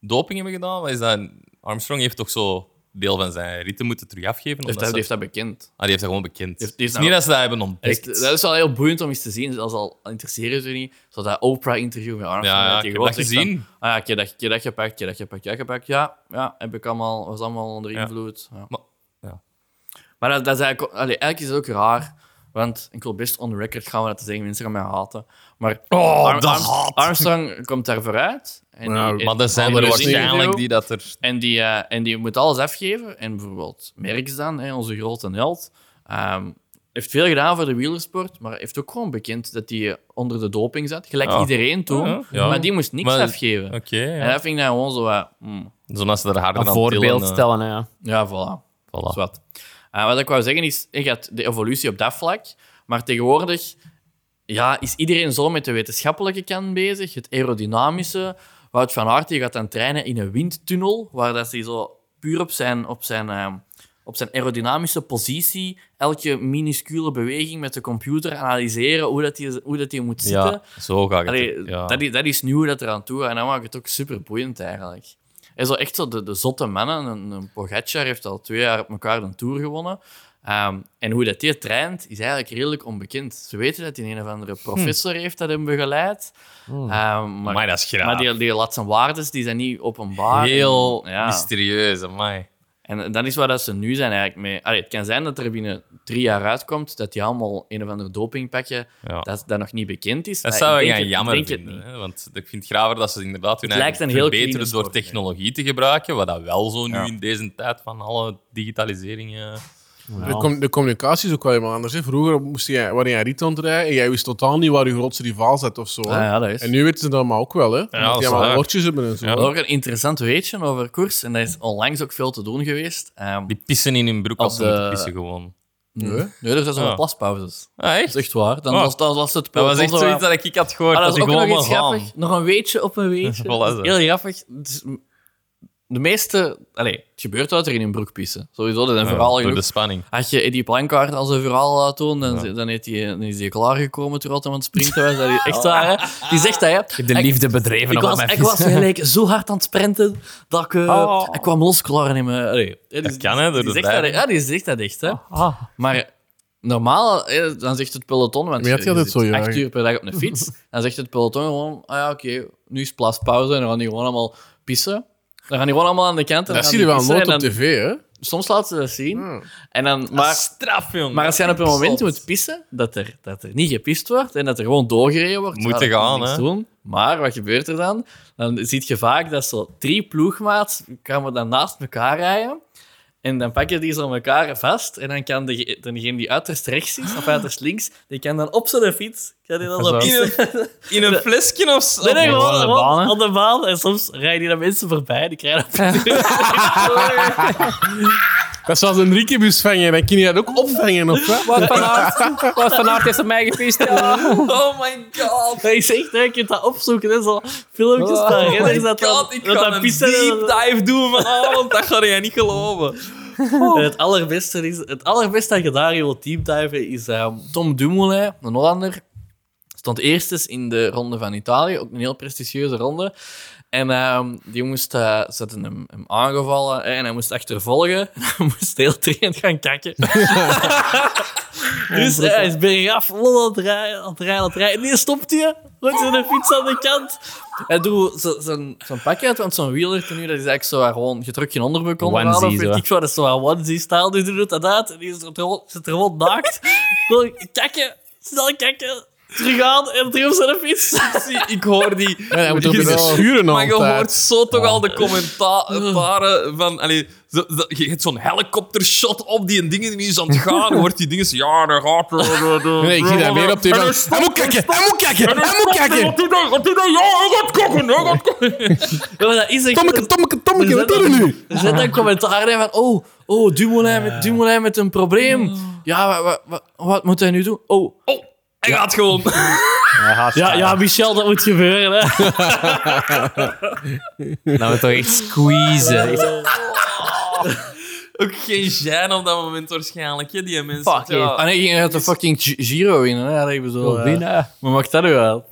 Speaker 1: doping hebben gedaan? Wat is dat? Armstrong heeft toch zo deel van zijn ritten moeten terug afgeven?
Speaker 2: heeft
Speaker 1: omdat
Speaker 2: dat,
Speaker 1: ze-
Speaker 2: heeft dat bekend.
Speaker 1: Ah, die heeft dat gewoon bekend.
Speaker 2: Heeft-
Speaker 1: Het
Speaker 2: die
Speaker 1: is
Speaker 2: is
Speaker 1: niet
Speaker 2: nou-
Speaker 1: dat ze dat hebben
Speaker 2: Dus
Speaker 1: ontdekt.
Speaker 2: dat is wel heel boeiend om eens te zien, zelfs al interesseren ze je niet. Zo dat Oprah-interview met Armstrong.
Speaker 1: Ja, ja, ik
Speaker 2: dat je
Speaker 1: heb
Speaker 2: gewoon
Speaker 1: dat
Speaker 2: zegt
Speaker 1: gezien.
Speaker 2: van, ah ja, ik heb dat, ik heb dat gepakt, ik heb dat gepakt, ik heb dat gepakt. Ja, ja, heb ik allemaal, was allemaal onder
Speaker 1: Ja.
Speaker 2: invloed. Ja.
Speaker 1: Maar- ja.
Speaker 2: Maar dat, dat is eigenlijk, allee, eigenlijk is het ook raar, want ik wil best on the record gaan, want dat zeggen mensen gaan mij haten. Maar
Speaker 1: Oh,
Speaker 2: Arm-
Speaker 1: dat
Speaker 2: Arm-
Speaker 1: haat.
Speaker 2: Armstrong komt daar vooruit. En,
Speaker 4: Nou,
Speaker 2: en-
Speaker 1: Maar er zijn
Speaker 2: en-
Speaker 1: er
Speaker 2: en-
Speaker 1: waarschijnlijk die dat er...
Speaker 2: en die, eh, en die moet alles afgeven. En bijvoorbeeld Merckx dan, hè, onze grote held, ehm, heeft veel gedaan voor de wielersport, maar heeft ook gewoon bekend dat hij onder de doping zat. Gelijk
Speaker 1: Ja.
Speaker 2: iedereen toen,
Speaker 1: Ah. Ja, ja.
Speaker 2: maar die moest niks
Speaker 1: Maar-
Speaker 2: afgeven.
Speaker 1: Oké,
Speaker 2: En
Speaker 1: ja.
Speaker 2: dat vind ik dan gewoon zo wat... mm,
Speaker 1: Zodat ze er harder
Speaker 3: Een
Speaker 1: aan
Speaker 3: voorbeeld
Speaker 1: tillen, eh,
Speaker 3: stellen, hè, ja.
Speaker 2: ja, voilà.
Speaker 1: voilà.
Speaker 2: Zwat. Eh, wat ik wou zeggen is, je hebt de evolutie op dat vlak, maar tegenwoordig ja, is iedereen zo met de wetenschappelijke kant bezig, het aerodynamische. Wout van Aert die gaat dan trainen in een windtunnel, waar dat hij zo puur op zijn, op zijn, ehm, op zijn aerodynamische positie elke minuscule beweging met de computer analyseren, hoe dat die, hoe dat die moet zitten.
Speaker 1: Ja, zo gaat het.
Speaker 2: Allee,
Speaker 1: ja.
Speaker 2: dat, is, dat is nieuw dat er aan toe gaat. En dat maakt het ook super boeiend eigenlijk. En zo echt zo de, de zotte mannen. Een, een Pogacar heeft al twee jaar op elkaar een tour gewonnen. Ehm, en hoe dat die traint, is eigenlijk redelijk onbekend. Ze weten dat hij een of andere professor heeft dat hem begeleid. Ehm, maar
Speaker 1: Amai, Hm. Hmm. dat is graag.
Speaker 2: maar die, die laat zijn waardes, die zijn niet openbaar.
Speaker 1: Heel
Speaker 2: En- ja.
Speaker 1: mysterieus, amai.
Speaker 2: En dat is waar dat ze nu zijn eigenlijk mee. Allee, het kan zijn dat er binnen drie jaar uitkomt dat die allemaal een of ander dopingpakje
Speaker 1: Ja. Dat,
Speaker 2: dat, dat nog niet bekend is. Maar
Speaker 1: zou
Speaker 2: ik
Speaker 1: ik
Speaker 2: denk
Speaker 1: gaan
Speaker 2: het- ik
Speaker 1: jammer
Speaker 2: denk het niet.
Speaker 1: vinden. Hè? Want ik vind het graver dat ze inderdaad hun
Speaker 2: Het lijkt
Speaker 1: eigen
Speaker 2: een heel
Speaker 1: verbeteren
Speaker 2: clean
Speaker 1: door
Speaker 2: sport, nee.
Speaker 1: technologie te gebruiken, wat dat wel zo nu
Speaker 2: Ja.
Speaker 1: in deze tijd van alle digitaliseringen...
Speaker 3: Ja.
Speaker 4: De, com- de communicatie is ook wel helemaal anders. Hè. Vroeger moest jij, waar jij riet aan het rijden en jij wist totaal niet waar je grootste rivaal zat of zo. hè.
Speaker 2: Ah, ja, dat is.
Speaker 4: En nu weten ze dat maar ook wel, hè?
Speaker 1: dat
Speaker 4: Ja,
Speaker 1: is
Speaker 4: die allemaal
Speaker 1: waar.
Speaker 4: woordjes hebben en zo.
Speaker 1: Ja.
Speaker 2: Wel ook een interessant weetje over koers. En dat is onlangs ook veel te doen geweest. Ehm,
Speaker 1: Die pissen in hun broek als
Speaker 2: Op
Speaker 1: ze
Speaker 2: de-
Speaker 1: moeten pissen gewoon.
Speaker 2: nee, dus er zijn zo'n
Speaker 1: Ja.
Speaker 2: plaspauzes.
Speaker 1: Ah, echt?
Speaker 2: Dat is echt waar. Dan
Speaker 1: Oh.
Speaker 2: was, dan was het
Speaker 1: Dat was echt
Speaker 2: peloton zo-
Speaker 1: zoiets dat ik had gehoord.
Speaker 2: Ah, dat is
Speaker 1: ik
Speaker 2: ook nog
Speaker 1: gewoon
Speaker 2: iets
Speaker 1: maar gaan.
Speaker 2: grappig. Nog een weetje op een weetje.
Speaker 1: Voilà,
Speaker 2: Dat is
Speaker 1: zo.
Speaker 2: heel grappig. Het is- De meeste... Allee, het gebeurt dat er in een broek pissen. Sowieso, dat is een
Speaker 1: Ja,
Speaker 2: verhaal
Speaker 1: door
Speaker 2: genoeg.
Speaker 1: de spanning.
Speaker 2: Had je Eddie Plankaart als een verhaal laat doen, dan, dan, heeft hij- dan is hij klaargekomen terwijl hij aan het sprinten was. Dat is echt waar, hè? Die zegt dat, hè.
Speaker 3: Ik heb de liefde bedreven
Speaker 2: Ik
Speaker 3: op
Speaker 2: was,
Speaker 3: mijn
Speaker 2: ik
Speaker 3: fiets.
Speaker 2: was gelijk zo hard aan het sprinten dat ik, eh,
Speaker 4: Oh.
Speaker 2: ik kwam los klaar in mijn... Allee, hè, die-
Speaker 1: dus- Dat kan, hè, door
Speaker 2: die
Speaker 1: de
Speaker 2: zegt dat,
Speaker 1: driving.
Speaker 2: Ja, die zegt dat echt. Hè.
Speaker 4: Ah,
Speaker 2: Maar normaal, hè, dan zegt het peloton... Want
Speaker 4: Maar je had altijd
Speaker 2: zit
Speaker 4: zo, ja.
Speaker 2: acht uur per dag op een fiets. dan zegt het peloton gewoon... Ah ja, oké, nu is plaspauze en dan gaan die gewoon allemaal pissen. Dan gaan die gewoon allemaal aan de kant. En dan
Speaker 4: Dat
Speaker 2: gaan
Speaker 4: zie je
Speaker 2: die
Speaker 4: wel
Speaker 2: pissen
Speaker 4: nooit
Speaker 2: en
Speaker 4: op Hmm.
Speaker 2: dan-
Speaker 4: tv, hè?
Speaker 2: Soms laten ze dat zien. En dan,
Speaker 1: Ah,
Speaker 2: maar,
Speaker 1: straf, jongen.
Speaker 2: maar als je op een moment
Speaker 1: Zot.
Speaker 2: moet pissen, dat er, dat er niet gepist wordt en dat er gewoon doorgereden wordt,
Speaker 1: Moet
Speaker 2: ja,
Speaker 1: je
Speaker 2: dat kan
Speaker 1: gaan,
Speaker 2: niks
Speaker 1: hè.
Speaker 2: Doen. Maar wat gebeurt er dan? Dan zie je vaak dat zo drie ploegmaats gaan we dan naast elkaar rijden. En dan pakken die zo elkaar vast. En dan kan de, degene die uiterst rechts is, of uiterst links, die kan dan op zijn fiets. Kan die dan
Speaker 3: Zo.
Speaker 2: op
Speaker 1: In een, in een flesje of zo.
Speaker 2: Nee, nee, gewoon,
Speaker 3: Op de
Speaker 2: gewoon
Speaker 3: baan, hè?
Speaker 2: op de baan. En soms rijden die dan mensen voorbij. Die krijgen dat
Speaker 4: Dat is zoals een riekenbus vangen, dan kun je dat ook opvangen, of wat?
Speaker 3: Wat van Aert, wat van Aert heeft op mij gepist.
Speaker 1: Oh my god.
Speaker 2: Dat is echt, hè, je kunt dat opzoeken. Hè, zo filmpjes
Speaker 3: Oh
Speaker 2: van renners dat dan-
Speaker 1: God, ik
Speaker 2: dat
Speaker 1: ga
Speaker 2: dan
Speaker 1: een
Speaker 2: pissen en
Speaker 1: deep
Speaker 2: dat-
Speaker 1: dive doen vanavond. Dat ga jij niet geloven.
Speaker 2: En het allerbeste is, het allerbeste dat je daar wilt deepdiven is ehm, Tom Dumoulin, een Hollander. Stond eerstes in de ronde van Italië, ook een heel prestigieuze ronde. En ehm, die moest, eh, ze hadden hem, hem aangevallen hè, en hij moest achtervolgen. hij moest heel dringend gaan kakken. dus eh, hij is bergaf, lol aan het rijden, aan het rijden, aan het rijden. En die stopt hij, gooit zijn fiets aan de kant. Hij doet z- zijn zijn pak uit, want zo'n wieler nu, dat is eigenlijk zo waar gewoon, je drukt geen onderbroek onder aan,
Speaker 3: Onesie,
Speaker 2: of weet
Speaker 3: zo.
Speaker 2: ik wat, dat is zo waar onesie-stijl. Dus die doet dat uit en die is er gewoon- zit er gewoon naakt. Gewoon kakken, snel kakken, terug aan en terug op zijn fiets.
Speaker 1: Zie, Ik hoor die...
Speaker 4: Ja, hij moet ook
Speaker 1: die-
Speaker 4: binnen schuren
Speaker 1: Maar je hoort
Speaker 4: altijd.
Speaker 1: zo toch al de commentaren van... Allee, zo- zo- je hebt zo'n helikoptershot op die en dingen die is aan het gaan. Je hoort die dingen zo... Ja, daar gaat...
Speaker 4: Nee, ik zie dat weer op tv. Hij moet kijken, hij moet kijken, hij moet kijken!
Speaker 1: Wat doe dat? Wat doe dat? Ja, hij gaat koken, hij gaat koken.
Speaker 2: Ja, maar dat is echt...
Speaker 4: Tommeke, Tommeke, Tommeke, wat
Speaker 2: Er
Speaker 4: doen
Speaker 2: zit-
Speaker 4: we nu?
Speaker 2: Er zit een commentaar in van... Oh, oh Dumoulin, met, Dumoulin met een probleem. Ja, wa- wa- wa- wat moet hij nu doen? Oh,
Speaker 1: Oh, hij gaat gewoon.
Speaker 2: ja, ja, Michel, dat moet gebeuren, hè.
Speaker 3: Dan we toch echt squeezen. Echt
Speaker 1: Ook geen zijn op dat moment waarschijnlijk, hè, die mensen.
Speaker 2: Fuck
Speaker 1: Ja.
Speaker 2: yeah. Ah nee, ging uit de fucking G- Giro winnen. Hè? Dan hebben we zo, eh, Maar mag dat nu wel?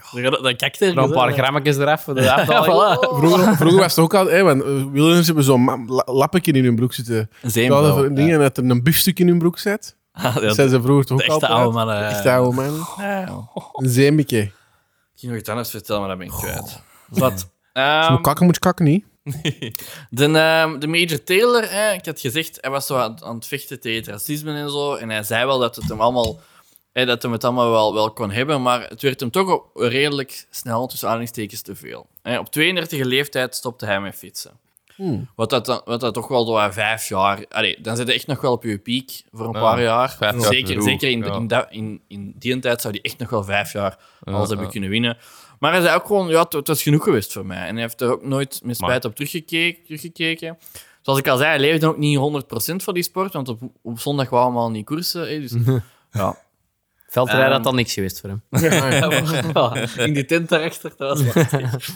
Speaker 2: Dan kijkt er
Speaker 3: Nog een paar
Speaker 2: grappen.
Speaker 3: grammetjes eraf voor de afdaling.
Speaker 2: Ja, voilà.
Speaker 4: Vroeger, vroeger was het ook al, hè, want eh, wielrenners hebben zo'n ma- la- lappetje in hun broek zitten.
Speaker 2: Een
Speaker 4: Ze hadden
Speaker 2: zeemvrouw.
Speaker 4: van dingen dat er een biefstuk in hun broek zit.
Speaker 2: Ja. Ja,
Speaker 4: Dat zijn ze vroeger toch
Speaker 2: de
Speaker 4: ook al.
Speaker 2: echte oude eh. mannen.
Speaker 4: Echt oude eh. man. Een zeembieke.
Speaker 2: Ik ging nog iets anders vertellen, maar dat ben ik kwijt.
Speaker 3: Wat?
Speaker 4: Moet kakken, moet je kakken niet.
Speaker 2: de, ehm, de Major Taylor, hè, ik had gezegd, hij was zo aan, aan het vechten tegen het racisme en zo. En hij zei wel dat het hem allemaal, hè, dat hem het allemaal wel, wel kon hebben. Maar het werd hem toch op, redelijk snel, tussen aanhalingstekens, te veel. Hè, op 32e leeftijd stopte hij met fietsen.
Speaker 4: Hmm.
Speaker 2: Wat, dat dan, wat dat toch wel door aan vijf jaar. Allee, dan zit hij echt nog wel op je piek voor een
Speaker 1: Ja,
Speaker 2: paar jaar.
Speaker 1: vijf jaar te
Speaker 2: zeker
Speaker 1: vroeg,
Speaker 2: zeker in,
Speaker 1: ja.
Speaker 2: in, dat- in, in die tijd zou hij echt nog wel vijf jaar alles
Speaker 1: Ja,
Speaker 2: hebben
Speaker 1: ja.
Speaker 2: kunnen winnen. Maar hij zei ook gewoon, ja, het- het was genoeg geweest voor mij. En hij heeft er ook nooit met spijt op teruggekeken. teruggekeken. Zoals ik al zei, hij leefde ook niet 100% van die sport, want op, op zondag wou hij allemaal niet koersen. Hè, dus ja.
Speaker 3: Veldrijden
Speaker 2: Ehm.
Speaker 3: had dan niks geweest voor hem.
Speaker 2: in die tent daarachter, dat was lastig.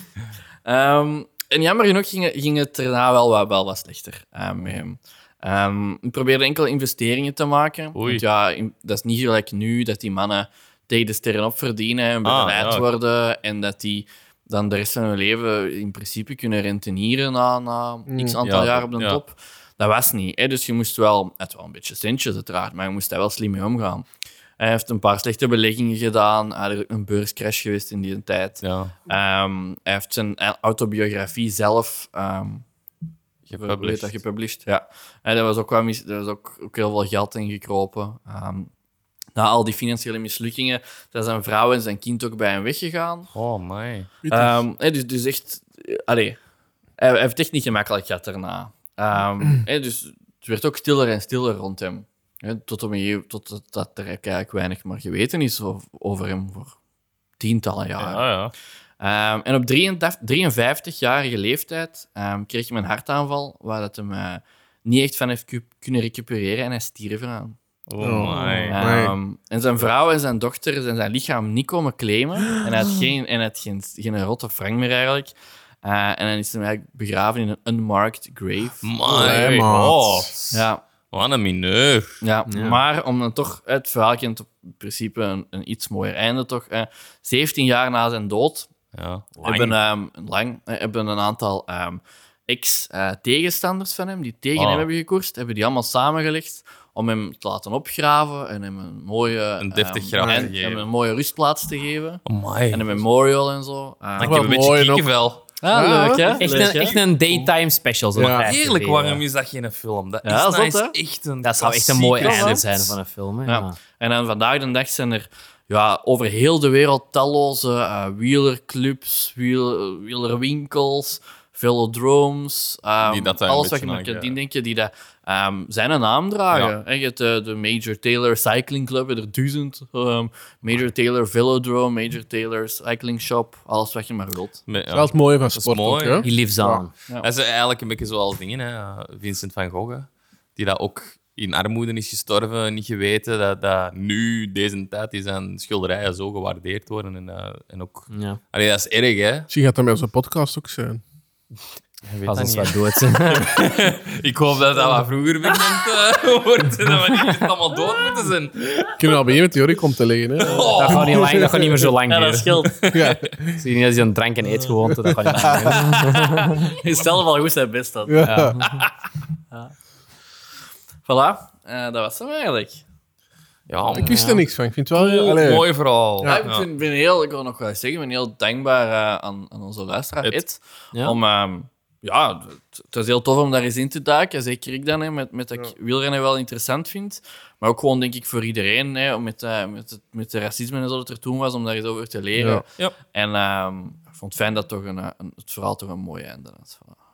Speaker 2: Ehm, en jammer genoeg ging, ging het daarna wel, wat- wel wat slechter eh, met hem. Ehm, ik probeerde enkel investeringen te maken.
Speaker 1: Oei.
Speaker 2: Want ja, in- dat is niet gelijk nu dat die mannen tegen de sterren op verdienen en
Speaker 1: Ah,
Speaker 2: begeleid
Speaker 1: ja.
Speaker 2: worden. En dat die dan de rest van hun leven in principe kunnen rentenieren na, na x aantal
Speaker 1: Ja,
Speaker 2: jaar op de
Speaker 1: ja.
Speaker 2: top. Dat was niet. Hè? Dus je moest wel, het wel een beetje centjes uiteraard, maar je moest daar wel slim mee omgaan. Hij heeft een paar slechte beleggingen gedaan. Hij is een beurscrash geweest in die tijd.
Speaker 1: Ja,
Speaker 2: Ehm, hij heeft zijn autobiografie zelf ehm, hoe heet dat,
Speaker 1: gepublished.
Speaker 2: gepublished. Ja. En daar was ook, wel mis, daar was ook, ook heel veel geld in gekropen. Ehm, na al die financiële mislukkingen zijn zijn vrouw en zijn kind ook bij hem weggegaan.
Speaker 1: Oh, my.
Speaker 2: Ehm, hè, dus, dus echt... eh, Allee, hij, hij heeft het echt niet gemakkelijk gehad daarna. Ehm, hè, dus het werd ook stiller en stiller rond hem. Hè, tot, op een gegeven- tot, tot dat er eigenlijk weinig meer geweten is of- over hem voor tientallen jaren.
Speaker 1: Ja, Ah, ja.
Speaker 2: Ehm, en op 53-jarige leeftijd ehm, kreeg hij een hartaanval, waar dat hem eh, niet echt van heeft ku- kunnen recupereren en hij stierf eraan.
Speaker 1: Oh,
Speaker 4: Oh.
Speaker 1: my.
Speaker 4: Ja.
Speaker 2: Ehm, en zijn vrouw en zijn dochter zijn zijn lichaam niet komen claimen. En hij had geen, en hij had geen, geen rotte wrang meer eigenlijk. Eh, en dan is hij eigenlijk begraven in een unmarked grave.
Speaker 1: My
Speaker 4: Ja,
Speaker 1: god.
Speaker 2: Ja,
Speaker 1: oh, Wat een mineur.
Speaker 2: Ja, maar om dan toch het verhaal kent op in principe een, een iets mooier einde toch. eh, 17 jaar na zijn dood
Speaker 1: Ja,
Speaker 2: hebben, ehm, lang, eh, hebben een aantal ehm, ex-tegenstanders van hem, die tegen
Speaker 1: Ah.
Speaker 2: hem hebben gekoerst, hebben die allemaal samengelegd om hem te laten opgraven en hem een mooie...
Speaker 1: Een deftig
Speaker 2: ehm,
Speaker 1: graf te
Speaker 2: en-
Speaker 1: geven.
Speaker 2: Hem een mooie rustplaats te geven.
Speaker 4: eh,
Speaker 1: Oh,
Speaker 2: En
Speaker 1: my.
Speaker 2: een memorial en zo. Eh,
Speaker 1: Ik
Speaker 4: wel
Speaker 1: heb een beetje
Speaker 4: mooi nog.
Speaker 1: kiekenvel.
Speaker 2: ah, leuk, hè?
Speaker 3: Echt
Speaker 2: Leuk,
Speaker 3: een,
Speaker 2: hè?
Speaker 3: echt een daytime special. Zo
Speaker 4: Ja.
Speaker 3: dat vijfde
Speaker 1: Eerlijk,
Speaker 3: deel,
Speaker 1: waarom
Speaker 3: ja.
Speaker 1: is dat geen film? Dat is,
Speaker 2: Ja,
Speaker 1: dat
Speaker 2: zot,
Speaker 1: is
Speaker 2: hè?
Speaker 1: echt een
Speaker 3: Dat zou echt een mooi
Speaker 1: klassieker
Speaker 3: einde
Speaker 1: zot.
Speaker 3: zijn van een film. Hè?
Speaker 2: Ja.
Speaker 3: Ja.
Speaker 2: En dan vandaag de dag zijn er ja, over heel de wereld talloze eh, wielerclubs, wiel, wielerwinkels, velodromes. ehm,
Speaker 1: Die dat daar een
Speaker 2: alles wat
Speaker 1: beetje
Speaker 2: je maar kunt
Speaker 1: aan-
Speaker 2: indenken, die dat, ehm, zijn een naam dragen.
Speaker 1: Ja.
Speaker 2: Hè, Je hebt eh, de Major Taylor Cycling Club, je hebt er duizend. ehm, Major Taylor Velodrome, Major Taylor Cycling Shop, alles wat je maar wilt.
Speaker 1: Met- ja.
Speaker 4: Dat is het mooie van
Speaker 1: is
Speaker 4: sport
Speaker 1: mooi,
Speaker 4: ook, hè?
Speaker 3: He lives on.
Speaker 1: Dat is eigenlijk een beetje zoals dingen, hè. Vincent van Gogh, hè. die dat ook in armoede is gestorven, niet geweten dat, dat nu, deze tijd, die zijn schilderijen zo gewaardeerd worden. En, eh, en ook...
Speaker 3: Ja.
Speaker 1: Allee, dat is erg, hè.
Speaker 4: Misschien gaat dat met onze podcast ook zijn.
Speaker 1: Je weet
Speaker 3: Als
Speaker 1: dat
Speaker 3: ons
Speaker 1: niet,
Speaker 3: wat dood zijn.
Speaker 1: hè. Ik hoop dat dat wat vroeger bekend eh, wordt, en dat we niet allemaal dood moeten zijn.
Speaker 4: Kunnen we al beginnen met theorie komt te liggen, hè?
Speaker 3: Dat gaat niet, lang, dat gaat niet meer zo lang
Speaker 2: Ja,
Speaker 3: duren.
Speaker 2: dat scheelt.
Speaker 4: Ja.
Speaker 3: Zie je niet als je een drank- en eetgewoonte, dat gaat niet lang duren.
Speaker 2: Hij is zelf al goed zijn best dat.
Speaker 4: Ja.
Speaker 2: Voilà, eh, dat was hem eigenlijk.
Speaker 1: Ja,
Speaker 4: Ik wist er niks van. Ik vind het wel heel...
Speaker 1: mooi,
Speaker 4: allee.
Speaker 1: mooi verhaal.
Speaker 2: Ja, ik vind, ben heel, ik wil nog wel eens zeggen, ik ben heel dankbaar eh, aan, aan onze luisteraar,
Speaker 1: Ed.
Speaker 2: Ed.
Speaker 3: Ja.
Speaker 2: Om, ehm, ja, het, het was heel tof om daar eens in te duiken. Zeker ik dan, hè, met, met dat ik wielrennen wel interessant vind. Maar ook gewoon, denk ik, voor iedereen, hè, om met, eh, met, het, met de racisme en zo dat er toen was, om daar eens over te leren.
Speaker 4: Ja.
Speaker 1: Ja.
Speaker 2: En ehm, ik vond het fijn dat toch een, eh, een- het verhaal toch een mooi einde had. Voilà.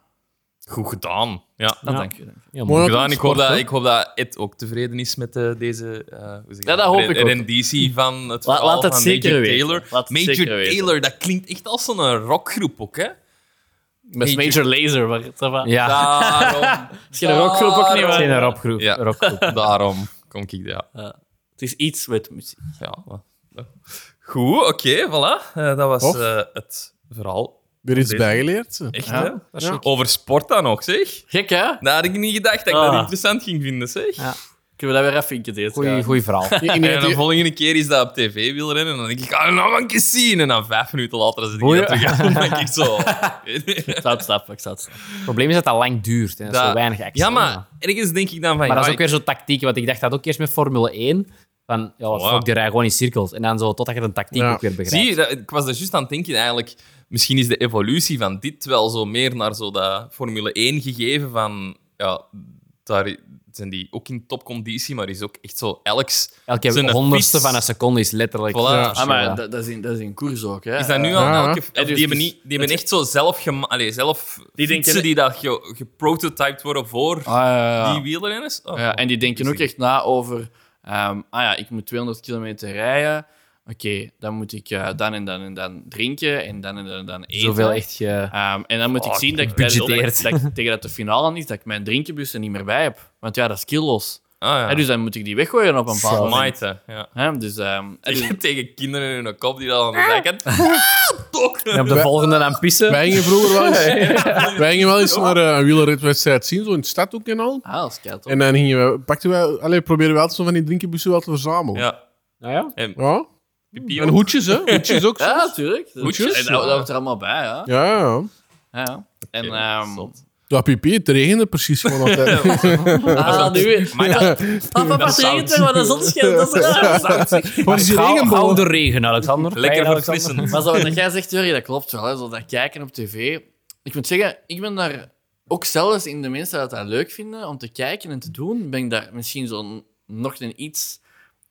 Speaker 1: Goed gedaan. Ja.
Speaker 2: Nou,
Speaker 3: Ja.
Speaker 2: dank je. dank je.
Speaker 3: Ja,
Speaker 4: Mooi
Speaker 3: mooi.
Speaker 1: Goed gedaan. Ik hoop,
Speaker 4: Sport,
Speaker 1: dat,
Speaker 4: hè?
Speaker 1: ik hoop dat Ed ook tevreden is met eh, deze eh, hoe zeg je
Speaker 2: Ja, dat hoop
Speaker 1: re-
Speaker 2: ik ook.
Speaker 1: renditie van het
Speaker 2: Laat-
Speaker 1: verhaal
Speaker 2: laat het
Speaker 1: van
Speaker 2: zeker
Speaker 1: Major
Speaker 2: weten.
Speaker 1: Taylor.
Speaker 2: Laat het
Speaker 1: Major
Speaker 2: zeker weten.
Speaker 1: Taylor, dat klinkt echt als zo'n rockgroep ook, hè?
Speaker 2: Met Major Laser, maar het was...
Speaker 3: Ja,
Speaker 1: Daarom.
Speaker 2: Is geen rockgroep ook niet,
Speaker 3: het
Speaker 2: maar...
Speaker 3: zijn een rockgroep.
Speaker 1: Ja.
Speaker 3: rockgroep.
Speaker 1: Daarom kom ik daar.
Speaker 2: Het is iets met muziek.
Speaker 1: Ja, maar- Goed, oké, voilà. Eh, dat was
Speaker 4: Tof.
Speaker 1: eh, het verhaal
Speaker 4: Weer iets bijgeleerd.
Speaker 1: Echt,
Speaker 2: Ja,
Speaker 1: hè?
Speaker 3: dat is chic.
Speaker 1: Over sport dan ook, zeg.
Speaker 2: Gek, hè?
Speaker 1: Dat had ik niet gedacht dat ik
Speaker 3: Ah.
Speaker 1: dat interessant ging vinden, zeg.
Speaker 3: Ja.
Speaker 2: Kunnen we dat weer even inketeerd
Speaker 3: Goeie, goeie verhaal.
Speaker 4: Ja, in
Speaker 1: En de
Speaker 4: die-
Speaker 1: volgende keer is dat op tv wil rennen. En dan denk ik, ah, nou een keer zien. En dan vijf minuten later zit ik
Speaker 3: Oh
Speaker 1: dat terug aan. Dan denk ik zo.
Speaker 2: Ik zou het snappen, ik zou het snappen.
Speaker 3: Het probleem is dat dat lang duurt. Hè. Dat is
Speaker 1: Dat-
Speaker 3: zo weinig extra.
Speaker 1: Ja, maar ergens denk ik dan van...
Speaker 3: Maar dat
Speaker 1: ja,
Speaker 3: is ook weer zo'n tactiek, want ik dacht dat ook eerst met Formule 1. Van, ja,
Speaker 1: Voilà.
Speaker 3: fuck, die rijden gewoon in cirkels. En dan zo, totdat je de tactiek
Speaker 4: Ja.
Speaker 3: ook weer begrijpt.
Speaker 1: Zie je, dat- ik was daar juist aan het denken eigenlijk. Misschien is de evolutie van dit wel zo meer naar zo dat Formule 1 gegeven van... Ja, daar zijn die ook in topconditie, maar is ook echt zo elks... zijn
Speaker 3: Elke
Speaker 1: een
Speaker 3: honderdste
Speaker 1: fiets.
Speaker 3: van een seconde is letterlijk... eh,
Speaker 1: Voilà.
Speaker 3: Ja.
Speaker 2: Ah, maar dat, dat is in, dat is in koers ook, hè?
Speaker 1: Is dat nu
Speaker 2: Eh,
Speaker 1: al
Speaker 4: ja.
Speaker 1: elke... die
Speaker 2: Ja, dus-
Speaker 1: hebben,
Speaker 2: dus-
Speaker 1: niet, die hebben echt zo zelf... gema- Allee, zelf
Speaker 2: Die
Speaker 1: die
Speaker 2: denken-
Speaker 1: fietsen die dat ge- geprototyped worden voor
Speaker 2: Ah, ja, ja, ja.
Speaker 1: die wielrenners. Oh.
Speaker 2: Ja, en die denken ook echt na over... ehm, ah ja, ik moet 200 kilometer rijden. Oké, dan moet ik eh, dan en dan en dan drinken en dan en dan en dan eten.
Speaker 3: Zoveel echt... Je...
Speaker 2: Ehm, en dan moet ik
Speaker 1: Oh,
Speaker 2: zien dat ik, tijdens-
Speaker 3: budgeteerd.
Speaker 2: dat ik tegen dat de finale is, dat ik mijn drinkenbus er niet meer bij heb. Want ja, dat is kilo's.
Speaker 1: Ah, ja.
Speaker 2: Hè, dus dan moet ik die weggooien op een bepaald
Speaker 3: Zo.
Speaker 2: moment.
Speaker 1: Smite, hè, ja.
Speaker 2: Hè, dus, ehm, en dus-
Speaker 1: Tegen kinderen in hun kop die dat aan de zijkant... Ah, Tok!
Speaker 3: En op de volgende dan pissen.
Speaker 4: Wij gingen vroeger wel eens, wij gingen wel eens naar eh, een wielerritwedstrijd zien, zo in de stad ook en al.
Speaker 2: ah, dat is kei tof.
Speaker 4: En dan gingen we, pakten we, allee, proberen we altijd zo van die drinkenbussen wel te verzamelen. Ja.
Speaker 1: Ja,
Speaker 3: Nou ja.
Speaker 1: pipi
Speaker 4: En hoedjes, hè? Hoedjes ook.
Speaker 2: Ja, natuurlijk. Dat,
Speaker 1: Hoedjes?
Speaker 2: en dat, dat hoort er allemaal bij, ja.
Speaker 4: Ja, ja.
Speaker 2: ja. ja. En,
Speaker 1: Oké,
Speaker 2: ehm,
Speaker 1: zot.
Speaker 4: Ja, pipi, het regende precies gewoon altijd.
Speaker 2: ah, nu...
Speaker 1: Maar ja,
Speaker 2: Ah, papa, het regent er, maar de zon schijnt, dat is raar.
Speaker 4: Wat is die
Speaker 3: Hou- Hou
Speaker 4: regenboog?
Speaker 3: de regen, Alexander.
Speaker 1: lekker
Speaker 3: Hey, Alexander.
Speaker 1: verfrissend.
Speaker 2: Maar zo, dat jij zegt, Jurgen, dat klopt wel. Hè. Zo dat kijken op tv. Ik moet zeggen, ik ben daar ook zelfs in de mensen dat dat leuk vinden om te kijken en te doen, ben ik daar misschien zo nog een iets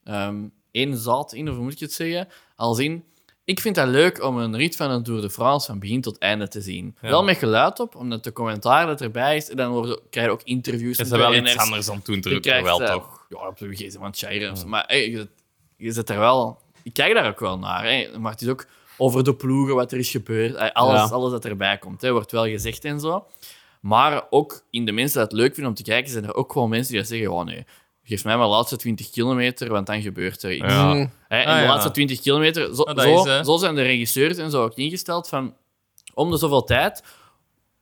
Speaker 2: ehm eenzaad in, of hoe moet ik het zeggen? Als in, ik vind dat leuk om een rit van een Tour de France van begin tot einde te zien.
Speaker 1: Ja.
Speaker 2: Wel met geluid op, omdat de commentaar dat erbij is, en dan worden, krijg je ook interviews
Speaker 1: Is
Speaker 2: met
Speaker 1: er wel iets
Speaker 2: renners.
Speaker 1: anders aan toen
Speaker 2: Je
Speaker 1: terug,
Speaker 2: krijgt,
Speaker 1: wel
Speaker 2: eh,
Speaker 1: toch?
Speaker 2: Ja, op de gegeven moment Shire of zo. Maar hey, je, zit- je zit er wel... Ik kijk daar ook wel naar. Hè. Maar het is ook over de ploegen, wat er is gebeurd. Hey, Alles,
Speaker 3: Ja.
Speaker 2: alles dat erbij komt, hè, wordt wel gezegd en zo. Maar ook in de mensen die het leuk vinden om te kijken, zijn er ook gewoon mensen die dat zeggen, oh nee, geef mij maar de laatste 20 kilometer, want dan gebeurt er iets.
Speaker 1: Ja.
Speaker 2: Hè, en
Speaker 1: Ah,
Speaker 2: de
Speaker 1: ja.
Speaker 2: laatste 20 kilometer, zo,
Speaker 1: Ah, dat
Speaker 2: zo,
Speaker 1: is, hè.
Speaker 2: zo zijn de regisseurs en zo ook ingesteld van om de zoveel tijd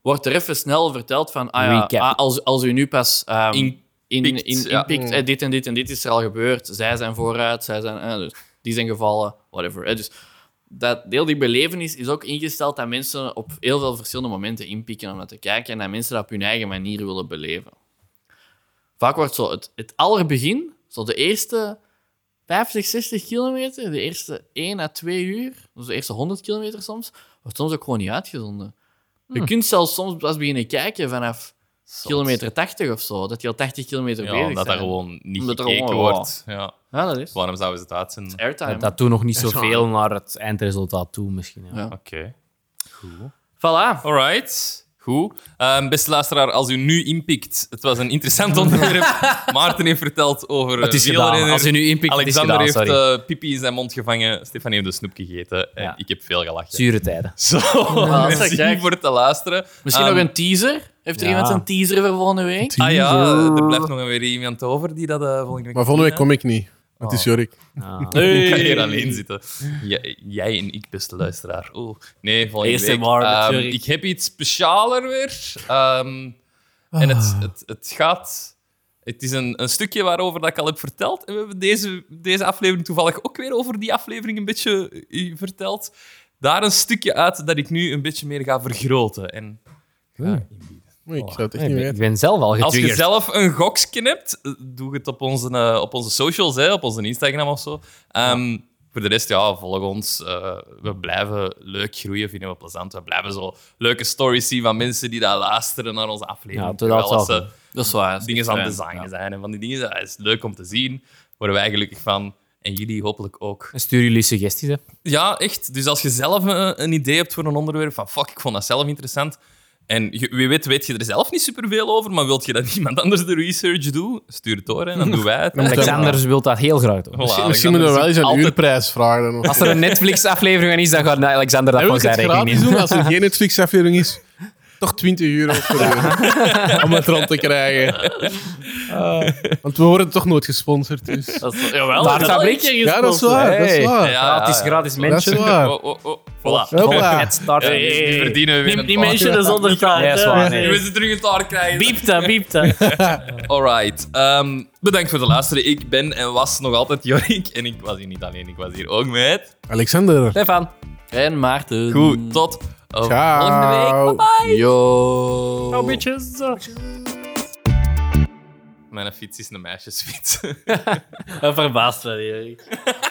Speaker 2: wordt er even snel verteld van ah ja,
Speaker 3: Recap.
Speaker 2: ah, als, als u nu pas ehm, in,
Speaker 1: In-
Speaker 2: in,
Speaker 1: pikt,
Speaker 2: in-
Speaker 1: ja.
Speaker 2: inpikt, eh, dit en dit en dit is er al gebeurd, zij zijn vooruit, zij zijn, eh, dus die zijn gevallen, whatever. hè. dus dat deel die belevenis is ook ingesteld dat mensen op heel veel verschillende momenten inpikken om dat te kijken en dat mensen dat op hun eigen manier willen beleven. Vaak wordt zo het, het allerbegin, zo de eerste 50, 60 kilometer, de eerste 1 à 2 uur, dus de eerste 100 kilometer soms, wordt soms ook gewoon niet uitgezonden. Je kunt zelfs soms pas beginnen kijken vanaf kilometer 80 of zo, dat je al 80 kilometer
Speaker 1: Ja,
Speaker 2: bezig bent.
Speaker 1: omdat daar gewoon niet
Speaker 2: Omdat er
Speaker 1: gekeken
Speaker 2: gewoon-
Speaker 1: wordt. Ja.
Speaker 2: Ja, dat is.
Speaker 1: Waarom zouden ze het uitzenden? Oké.
Speaker 2: Airtime.
Speaker 3: Dat doet nog niet zoveel naar het eindresultaat toe, misschien. Ja.
Speaker 1: Eh,
Speaker 2: Ja. Voilà.
Speaker 1: Alright. Goed. Ehm, beste luisteraar, als u nu inpikt, het was een interessant onderwerp. Maarten heeft verteld over
Speaker 3: Het is
Speaker 1: eh,
Speaker 3: gedaan.
Speaker 1: wielrenners.
Speaker 3: Als je nu inpikt, het is
Speaker 1: Alexander
Speaker 3: gedaan,
Speaker 1: heeft
Speaker 3: sorry.
Speaker 1: eh, pipi in zijn mond gevangen. Stefan heeft een snoep gegeten. En
Speaker 3: Ja.
Speaker 1: ik heb veel gelachen.
Speaker 3: Zure tijden.
Speaker 1: Zo, merci
Speaker 2: kijk.
Speaker 1: voor het luisteren.
Speaker 2: Misschien
Speaker 1: Ehm,
Speaker 2: nog een teaser. Heeft er
Speaker 3: ja.
Speaker 2: iemand een teaser voor volgende week?
Speaker 1: Ah ja, er blijft nog weer iemand over die dat eh, volgende week...
Speaker 4: Maar volgende week kom ik niet. Het is Jorik.
Speaker 3: Ah.
Speaker 1: Nee. Ik ga hier alleen zitten. Jij, jij en ik, beste luisteraar. Oeh. Nee, volgende
Speaker 3: ASMR
Speaker 1: week.
Speaker 3: met
Speaker 1: ehm,
Speaker 3: Jurk.
Speaker 1: ik heb iets specialer weer. Ehm, En het,
Speaker 4: Ah.
Speaker 1: het, het gaat... Het is een, een stukje waarover dat ik al heb verteld. En we hebben deze, deze aflevering toevallig ook weer over die aflevering een beetje eh, verteld. Daar een stukje uit dat ik nu een beetje meer ga vergroten. En
Speaker 4: Oei, ik zou het echt
Speaker 3: Nee, ik
Speaker 4: niet
Speaker 3: ben-
Speaker 4: weten.
Speaker 3: ik ben zelf al
Speaker 1: als je
Speaker 3: getriggerd.
Speaker 1: zelf een goksje hebt, eh, doe het op onze, eh, op onze socials, hè, op onze Instagram of zo. Ehm, Voor de rest, ja, volg ons. Eh, we blijven leuk groeien, vinden we plezant. We blijven zo leuke stories zien van mensen die daar luisteren naar onze aflevering.
Speaker 3: Ja, doe dat
Speaker 1: Terwijl
Speaker 3: zelf,
Speaker 1: ze
Speaker 2: Dat is waar. dat is
Speaker 1: dingen
Speaker 2: echt
Speaker 1: aan het
Speaker 2: fijn.
Speaker 1: designen
Speaker 2: Ja.
Speaker 1: zijn. En van die dingen, dat is leuk om te zien. Worden wij gelukkig van. En jullie hopelijk ook.
Speaker 3: Stuur jullie suggesties, hè.
Speaker 1: Ja, echt. Dus als je zelf eh, een idee hebt voor een onderwerp, van fuck, ik vond dat zelf interessant. En je- wie weet, weet je er zelf niet superveel over, maar wilt je dat iemand anders de research doet? Stuur het door en dan doen wij het. Voilà,
Speaker 3: Alexander wil dat heel graag doen.
Speaker 1: Alexander
Speaker 4: Misschien moeten we wel eens
Speaker 1: zoekt
Speaker 4: een
Speaker 1: Ah, altijd-
Speaker 4: uurprijs vragen. dan.
Speaker 3: Als er een Netflix-aflevering aan is, dan gaat Alexander dat
Speaker 4: Wil
Speaker 3: voor
Speaker 4: ik
Speaker 3: zijn
Speaker 4: het
Speaker 3: rekening
Speaker 4: gratis
Speaker 3: nemen.
Speaker 4: doen als er geen Netflix-aflevering is? Toch 20 euro per uur. om het rond te krijgen. Want we worden toch nooit gesponsord. Dus.
Speaker 2: Dat is, jawel,
Speaker 3: Daar
Speaker 2: dat
Speaker 3: zijn
Speaker 2: is wel
Speaker 3: we.
Speaker 2: een keer
Speaker 4: Ja, dat is
Speaker 2: gesponsord.
Speaker 4: waar. Dat
Speaker 3: Hey.
Speaker 4: is waar.
Speaker 1: Ja.
Speaker 3: Gratis, gratis
Speaker 4: Ah, Dat is
Speaker 3: mensen.
Speaker 4: waar.
Speaker 1: Oh, oh, oh. Voilà.
Speaker 4: Hoppa.
Speaker 3: Het start.
Speaker 1: Hey, hey, hey. Nu verdienen we weer
Speaker 2: Niet,
Speaker 1: een
Speaker 2: niet
Speaker 1: paar.
Speaker 2: mensen de zonder taart.
Speaker 3: Nee, dat is waar,
Speaker 2: hè.
Speaker 3: nee.
Speaker 1: We moeten terug een taart krijgen.
Speaker 2: Biept dat, biept dat.
Speaker 1: Alright. Ehm, bedankt voor het luisteren. Ik ben en was nog altijd Jorik. En ik was hier niet alleen, ik was hier ook met.
Speaker 4: Alexander.
Speaker 3: Stefan.
Speaker 2: En Maarten.
Speaker 1: Goed, tot eh, volgende week.
Speaker 4: Ciao.
Speaker 2: Yo.
Speaker 3: Oh, bitches.
Speaker 1: Mijn fiets is een meisjesfiets.
Speaker 2: Dat verbaast Oh, wel, Erik.